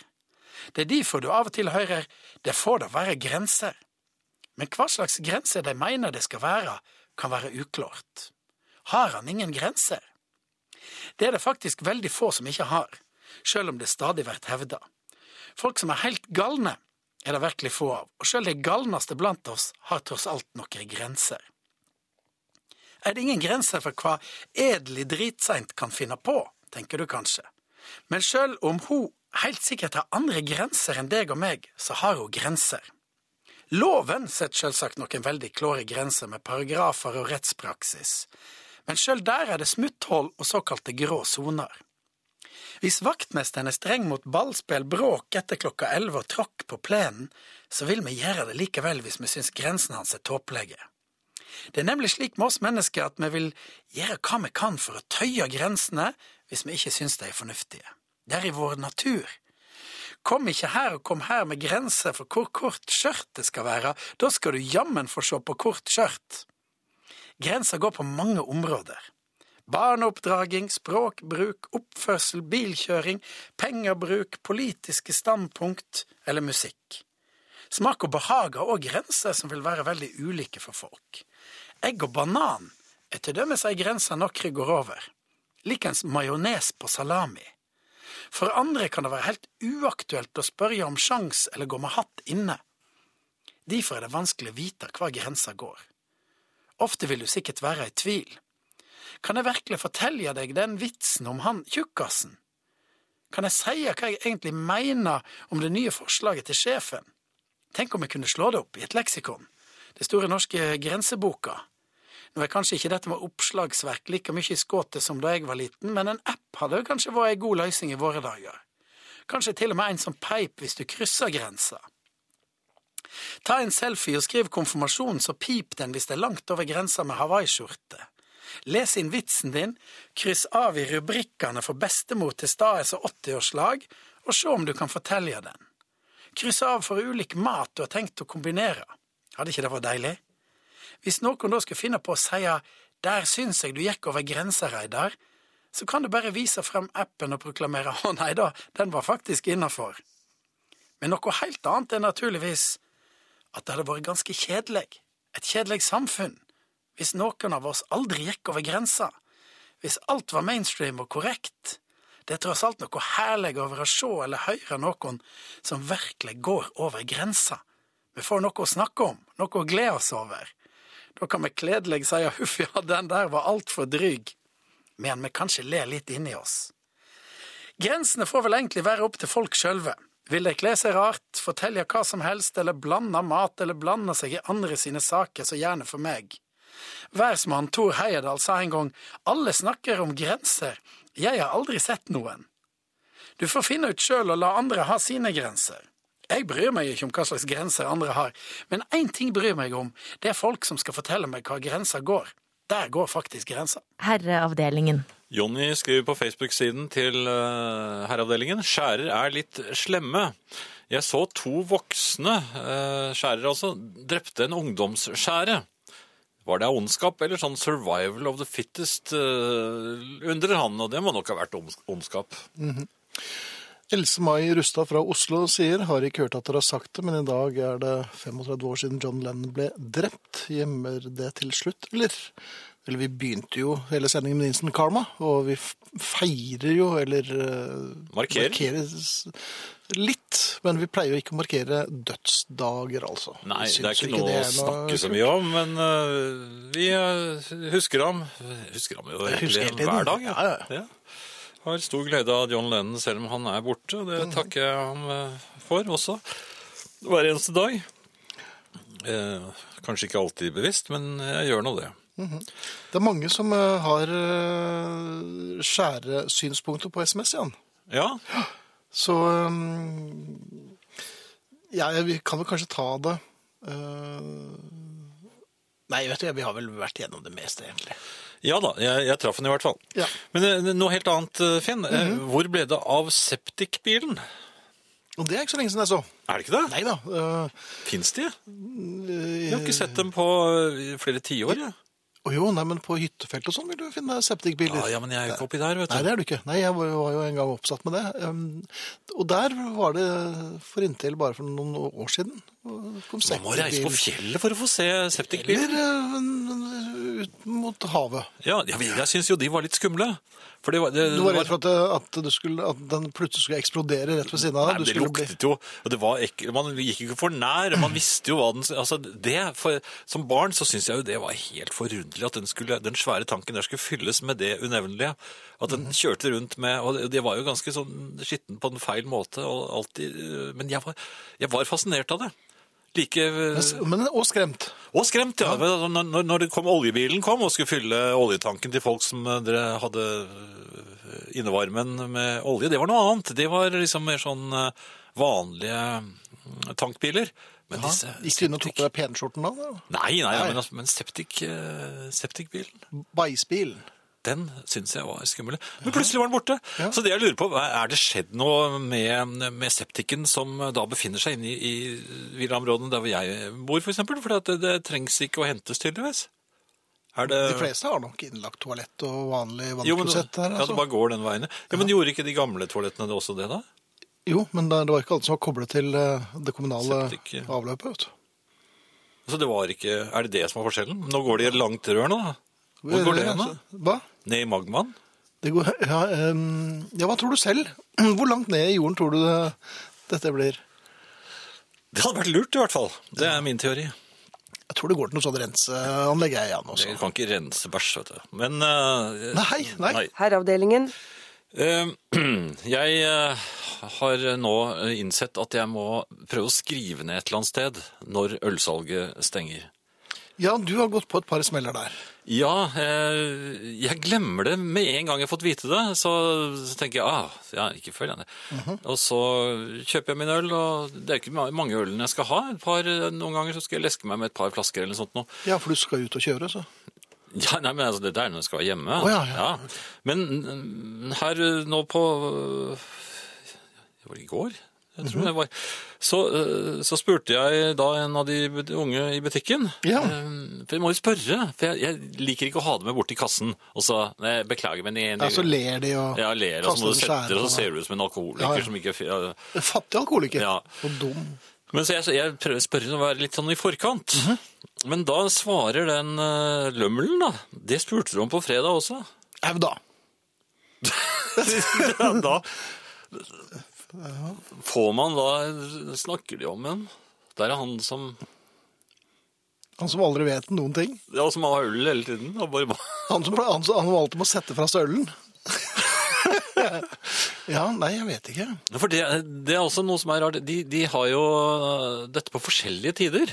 Speaker 11: Det er derfor du av og til hører det får da være grenser, men hva slags grenser de mener det skal være, kan være uklart. Har han ingen grenser? Det er det faktisk veldig få som ikke har, selv om det stadig blir hevda. Folk som er helt galne, er det virkelig få av, og selv de galneste blant oss har tross alt noen grenser. Er det ingen grenser for hva edelig dritseint kan finne på, tenker du kanskje. Men selv om hun helt sikkert har andre grenser enn deg og meg, så har hun grenser. Loven setter selvsagt noen veldig klare grenser med paragrafer og rettspraksis men sjøl der er det smutthull og såkalte grå soner. Hvis vaktmesteren er streng mot ballspill, bråk etter klokka elleve og tråkk på plenen, så vil vi gjøre det likevel hvis vi syns grensene hans er tåpelige. Det er nemlig slik med oss mennesker at vi vil gjøre hva vi kan for å tøye grensene hvis vi ikke syns de er fornuftige. Det er i vår natur. Kom ikke her og kom her med grenser for hvor kort skjørt det skal være, da skal du jammen få se på kort skjørt. Grensa går på mange områder. Barneoppdraging, språkbruk, oppførsel, bilkjøring, pengebruk, politiske standpunkt eller musikk. Smak og behag har òg grenser som vil være veldig ulike for folk. Egg og banan er til dømes ei grense noen går over. Likens majones på salami. For andre kan det være helt uaktuelt å spørre om sjans eller gå med hatt inne. Derfor er det vanskelig å vite hvor grensa går. Ofte vil du sikkert være i tvil. Kan jeg virkelig fortelle deg den vitsen om han tjukkasen? Kan jeg si hva jeg egentlig mener om det nye forslaget til sjefen? Tenk om jeg kunne slå det opp i et leksikon, det store norske grenseboka. Nå er kanskje ikke dette med oppslagsverk like mye i skuddet som da jeg var liten, men en app hadde jo kanskje vært ei god løsning i våre dager. Kanskje til og med en som peip hvis du krysser grensa. Ta en selfie og skriv konfirmasjon, så pip den hvis det er langt over grensa med hawaiiskjorte. Les inn vitsen din, kryss av i rubrikkene for bestemor til Staes og 80-årslag, og se om du kan fortelle den. Kryss av for ulik mat du har tenkt å kombinere. Hadde ikke det vært deilig? Hvis noen da skulle finne på å si der syns jeg du gikk over grensa, Reidar, så kan du bare vise frem appen og proklamere å nei da, den var faktisk innafor. Men noe helt annet er naturligvis at det hadde vært ganske kjedelig, et kjedelig samfunn, hvis noen av oss aldri gikk over grensa, hvis alt var mainstream og korrekt. Det er tross alt noe herlig over å se eller høre noen som virkelig går over grensa. Vi får noe å snakke om, noe å glede oss over. Da kan vi kledelig si huff ja, den der var altfor dryg, men vi kanskje ler litt inni oss. Grensene får vel egentlig være opp til folk sjølve. Vil de kle seg rart, fortelle hva som helst eller blande mat eller blande seg i andre sine saker, så gjerne for meg. Værsmann Tor Heyerdahl sa en gang alle snakker om grenser, jeg har aldri sett noen. Du får finne ut sjøl og la andre ha sine grenser. Jeg bryr meg ikke om hva slags grenser andre har, men én ting bryr meg om, det er folk som skal fortelle meg hva grensa går. Der går faktisk grensa.
Speaker 1: Herreavdelingen.
Speaker 3: Jonny skriver på Facebook-siden til eh, herreavdelingen skjærer er litt slemme. Jeg så to voksne eh, skjærere, altså, drepte en ungdomsskjære. Var det av ondskap eller sånn survival of the fittest, eh, undrer han, og det må nok ha vært ons- ondskap.
Speaker 2: Else-May Rustad fra Oslo sier har ikke hørt at dere har sagt det, men i dag er det 35 år siden John Lennon ble drept. Gjemmer det til slutt, eller? Eller vi begynte jo hele sendingen med Instant Karma, og vi f- feirer jo, eller eh,
Speaker 3: Markerer.
Speaker 2: s- litt, men vi pleier jo ikke å markere dødsdager, altså.
Speaker 3: Nei,
Speaker 2: Vi
Speaker 3: det er
Speaker 2: syns
Speaker 3: ikke noe å snakke så mye om, men eh, vi eh, husker ham. Husker ham jo
Speaker 2: husker hele
Speaker 3: egentlig
Speaker 2: tiden.
Speaker 3: hver dag.
Speaker 2: Ja, ja,
Speaker 3: ja. Har stor glede av John Lennon selv om han er borte,
Speaker 2: Mhm.
Speaker 3: og det takker jeg ham eh, for også. Hver eneste dag. Eh, kanskje ikke alltid bevisst, men jeg gjør nå det.
Speaker 2: Det er mange som eh, har eh, skjære synspunkter på SMS igjen.
Speaker 3: Ja,
Speaker 2: Så um, ja, jeg- vi kan vel kanskje ta det eh, Nei, vet du, vi har vel vært gjennom det meste, egentlig.
Speaker 3: ja da, jeg, jeg traff han i hvert fall.
Speaker 2: Ja. Mhm.
Speaker 3: Men eh, noe helt annet, eh, Finn. Eh, Hvor ble det av septikbilen?
Speaker 2: Og det er ikke så lenge siden jeg så.
Speaker 3: Er det ikke det?
Speaker 2: Nei da. eh,
Speaker 3: Fins de? Jeg har ikke sett dem på eh, flere tiår. jeg.
Speaker 2: Å jo, nei, men på hyttefelt og sånn vil du finne septikbiler.
Speaker 3: Ja, ja, men jeg er jo ikke oppi der, vet du.
Speaker 2: Nei, det er du ikke. Nei, jeg var jo- var jo en gang oppsatt med det. Um, og der var det for inntil bare for noen år siden. Kom
Speaker 3: Man må reise på fjellet for å få se septikbiler.
Speaker 2: Eller eh, ut mot havet.
Speaker 3: Ja, jeg, vet- jeg syns jo de var litt skumle. For det var, det,
Speaker 2: Du var
Speaker 3: det
Speaker 2: redd for at, det- at, du skulle, at den plutselig skulle eksplodere rett ved siden av
Speaker 3: Nei,
Speaker 2: deg? Du
Speaker 3: det
Speaker 2: skulle bli-
Speaker 3: luktet jo, og det var ekk, man gikk ikke for nær, man visste jo hva den, altså det, for, som barn så synes jeg jo det var helt forunderlig at den, skulle, den svære tanken der skulle fylles med det unevnelige, at den kjørte rundt med, og det- det var jo ganske sånn skitten på en feil måte, og alltid, øh, men jeg var, jeg var fascinert av det. Like, øh,
Speaker 2: Men, og skremt.
Speaker 3: og skremt, ja. altså, Når, når- når det kom oljebilen kom og skulle fylle oljetanken til folk som eh, dere hadde eh, innevarmen med olje, det var noe annet. Det var liksom mer sånn eh, vanlige mm, tankbiler. Men disse
Speaker 2: Gikk du inn og tok på deg penskjorten da? da?
Speaker 3: Nei, nei,
Speaker 2: Nei.
Speaker 3: men, altså, men septik, eh, septikbilen,
Speaker 2: Beisbilen.
Speaker 3: den syns jeg var skummel. Men plutselig var den borte. Så det jeg lurer på, er det skjedd noe med, med septiken som da befinner seg inne i, i villaområdene der hvor jeg bor, f.eks.? For eksempel? Fordi at det, det trengs ikke å hentes, tydeligvis. Er det
Speaker 2: De fleste har nok innlagt toalett og vanlig
Speaker 3: Eh. Jo, men,
Speaker 2: vannklosett der.
Speaker 3: Ja, det
Speaker 2: Altså.
Speaker 3: bare går den veien. Ja, men gjorde ikke de gamle toalettene det også det, da?
Speaker 2: Jo, men det det var ikke alle som var koblet til eh, det kommunale
Speaker 3: Septik, ja.
Speaker 2: avløpet. Vet du.
Speaker 3: Så Altså, det var ikke Er det det som er forskjellen? Nå går de langt rør nå, da. Hvor går det hen, da?
Speaker 2: Hva?
Speaker 3: Ned i magmaen?
Speaker 2: Det går, ja, em, ja, hva tror du selv? Hvor langt ned i jorden tror du det, dette blir?
Speaker 3: Det hadde vært lurt, i hvert fall. Det er min teori.
Speaker 2: Jeg tror det går til noe sånt renseanlegg, jeg igjen
Speaker 3: Du
Speaker 2: også.
Speaker 3: kan ikke rense bæsj, vet du. Men eh,
Speaker 2: Nei, nei.
Speaker 10: Herreavdelingen.
Speaker 3: Eh, Jeg eh, har nå innsett at jeg må prøve å skrive ned et eller annet sted når ølsalget stenger.
Speaker 2: Ja, du har gått på et par smeller der.
Speaker 3: Ja, eh, jeg glemmer det med en gang jeg har fått vite det. Så, så tenker jeg ah, ja, ikke følg henne. Og så kjøper jeg min øl, og det er ikke ma- mange ølene jeg skal ha. Et par, eh, noen ganger så skal jeg leske meg med et par flasker eller noe sånt. Nå.
Speaker 2: Ja, for du skal ut og kjøre, så.
Speaker 3: Ja, nei, men altså, det der er når jeg skal være hjemme.
Speaker 2: Å, ja, ja.
Speaker 3: Men mm, her eh, nå på eh, Det var i går, jeg
Speaker 2: Mhm.
Speaker 3: tror det var. Så, eh, så spurte jeg da en av de bud- unge i butikken.
Speaker 2: Ja.
Speaker 3: Eh, For jeg må jo spørre, for jeg, jeg liker ikke å ha det med bort til kassen. Og så eh, beklager, men jeg,
Speaker 2: Ja, så ler de og
Speaker 3: Ja, ler, og så
Speaker 2: kaster
Speaker 3: må du
Speaker 2: en
Speaker 3: sette
Speaker 2: skjære
Speaker 3: og
Speaker 2: på
Speaker 3: så
Speaker 2: deg.
Speaker 3: ser du ut som en alkoholiker
Speaker 2: Ja, ja.
Speaker 3: som ikke ja.
Speaker 2: Fattig alkoholiker.
Speaker 3: Ja.
Speaker 2: Og dum.
Speaker 3: Men så jeg, så jeg prøver å spørre og være litt sånn i forkant. Men da svarer den eh, lømmelen, da. Det spurte du om på fredag også.
Speaker 2: Au da.
Speaker 3: ja, da Får man da Snakker de om en? Der er han som
Speaker 2: Han som aldri vet noen ting.
Speaker 3: Ja, som har øl hele tiden. Og bare,
Speaker 2: Han som, han, som- han som alltid må sette fra stølen. ja, nei, jeg vet ikke.
Speaker 3: for det, det er også noe som er rart. De, de har jo øh, dette på forskjellige tider.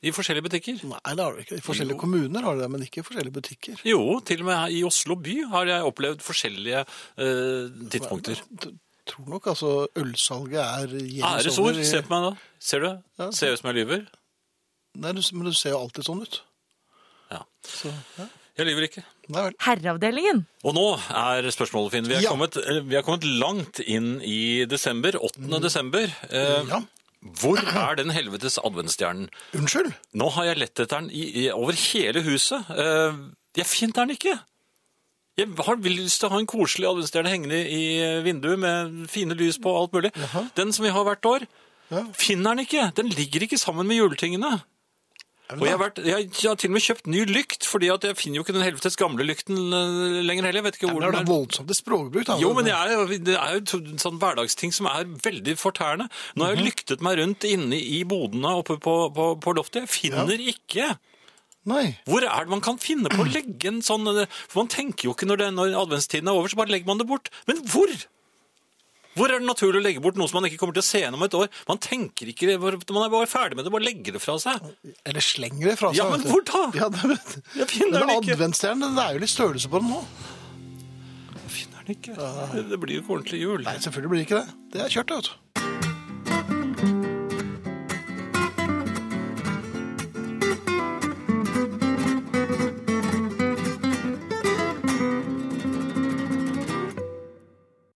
Speaker 3: I forskjellige butikker.
Speaker 2: Nei, det har du ikke. I forskjellige kommuner har du det, men ikke i forskjellige butikker.
Speaker 3: Jo, til og med her i Oslo by har jeg opplevd forskjellige øh, tidspunkter.
Speaker 2: Jeg tror nok altså ølsalget er jevnt
Speaker 3: Æresord!
Speaker 2: over i-
Speaker 3: Se på meg, da. Ser du?
Speaker 2: Ja.
Speaker 3: Ser jeg ut som jeg lyver?
Speaker 2: Nei, du, men du ser jo alltid sånn ut.
Speaker 3: Ja.
Speaker 2: Så, ja.
Speaker 3: Jeg lyver ikke.
Speaker 2: Nei vel.
Speaker 1: Herreavdelingen.
Speaker 3: Og nå er spørsmålet, Finn. Vi er,
Speaker 2: Ja.
Speaker 3: kommet, eh, vi er kommet langt inn i desember. 8. desember. Eh,
Speaker 2: Mm. Ja.
Speaker 3: Hvor er den helvetes adventsstjernen?
Speaker 2: Unnskyld?
Speaker 3: Nå har jeg lett etter den i, i, over hele huset. Eh, jeg finner den ikke. Jeg har lyst til å ha en koselig adventsstjerne hengende i vinduet med fine lys på og alt mulig. Den som vi har hvert år.
Speaker 2: Ja.
Speaker 3: Finner den ikke! Den ligger ikke sammen med juletingene. Og jeg har, vært, jeg, har- jeg har til og med kjøpt ny lykt, fordi at jeg finner jo ikke den helvetes gamle lykten eh, lenger heller. Jeg vet ikke hvor
Speaker 2: Det er da
Speaker 3: den er.
Speaker 2: voldsomt i språkbruk. Da.
Speaker 3: Jo, men det er, jo- det er jo to- en sånn hverdagsting som er veldig fortærende. Nå har jeg lyktet meg rundt inne i bodene oppe på, på, på loftet. Jeg finner ikke.
Speaker 2: Nei.
Speaker 3: Hvor er det man kan finne på å legge en sånn eh, For man tenker jo ikke når, det, når adventstiden er over, så bare legger man det bort. Men hvor? Hvor er det naturlig å legge bort noe som man ikke kommer til å se igjen om et år? Man tenker ikke, det, man er bare ferdig med det, bare legger det fra seg.
Speaker 2: Eller slenger det fra seg.
Speaker 3: Ja, men
Speaker 2: vet du.
Speaker 3: hvor da?
Speaker 2: Ja, det, vet-
Speaker 3: Jeg finner
Speaker 2: Men
Speaker 3: den ikke.
Speaker 2: adventsstjernen, det er jo litt størrelse på den nå.
Speaker 3: Jeg finner den ikke. Det blir jo ikke ordentlig jul.
Speaker 2: Nei, selvfølgelig blir det ikke det. Det er kjørt, det, vet du.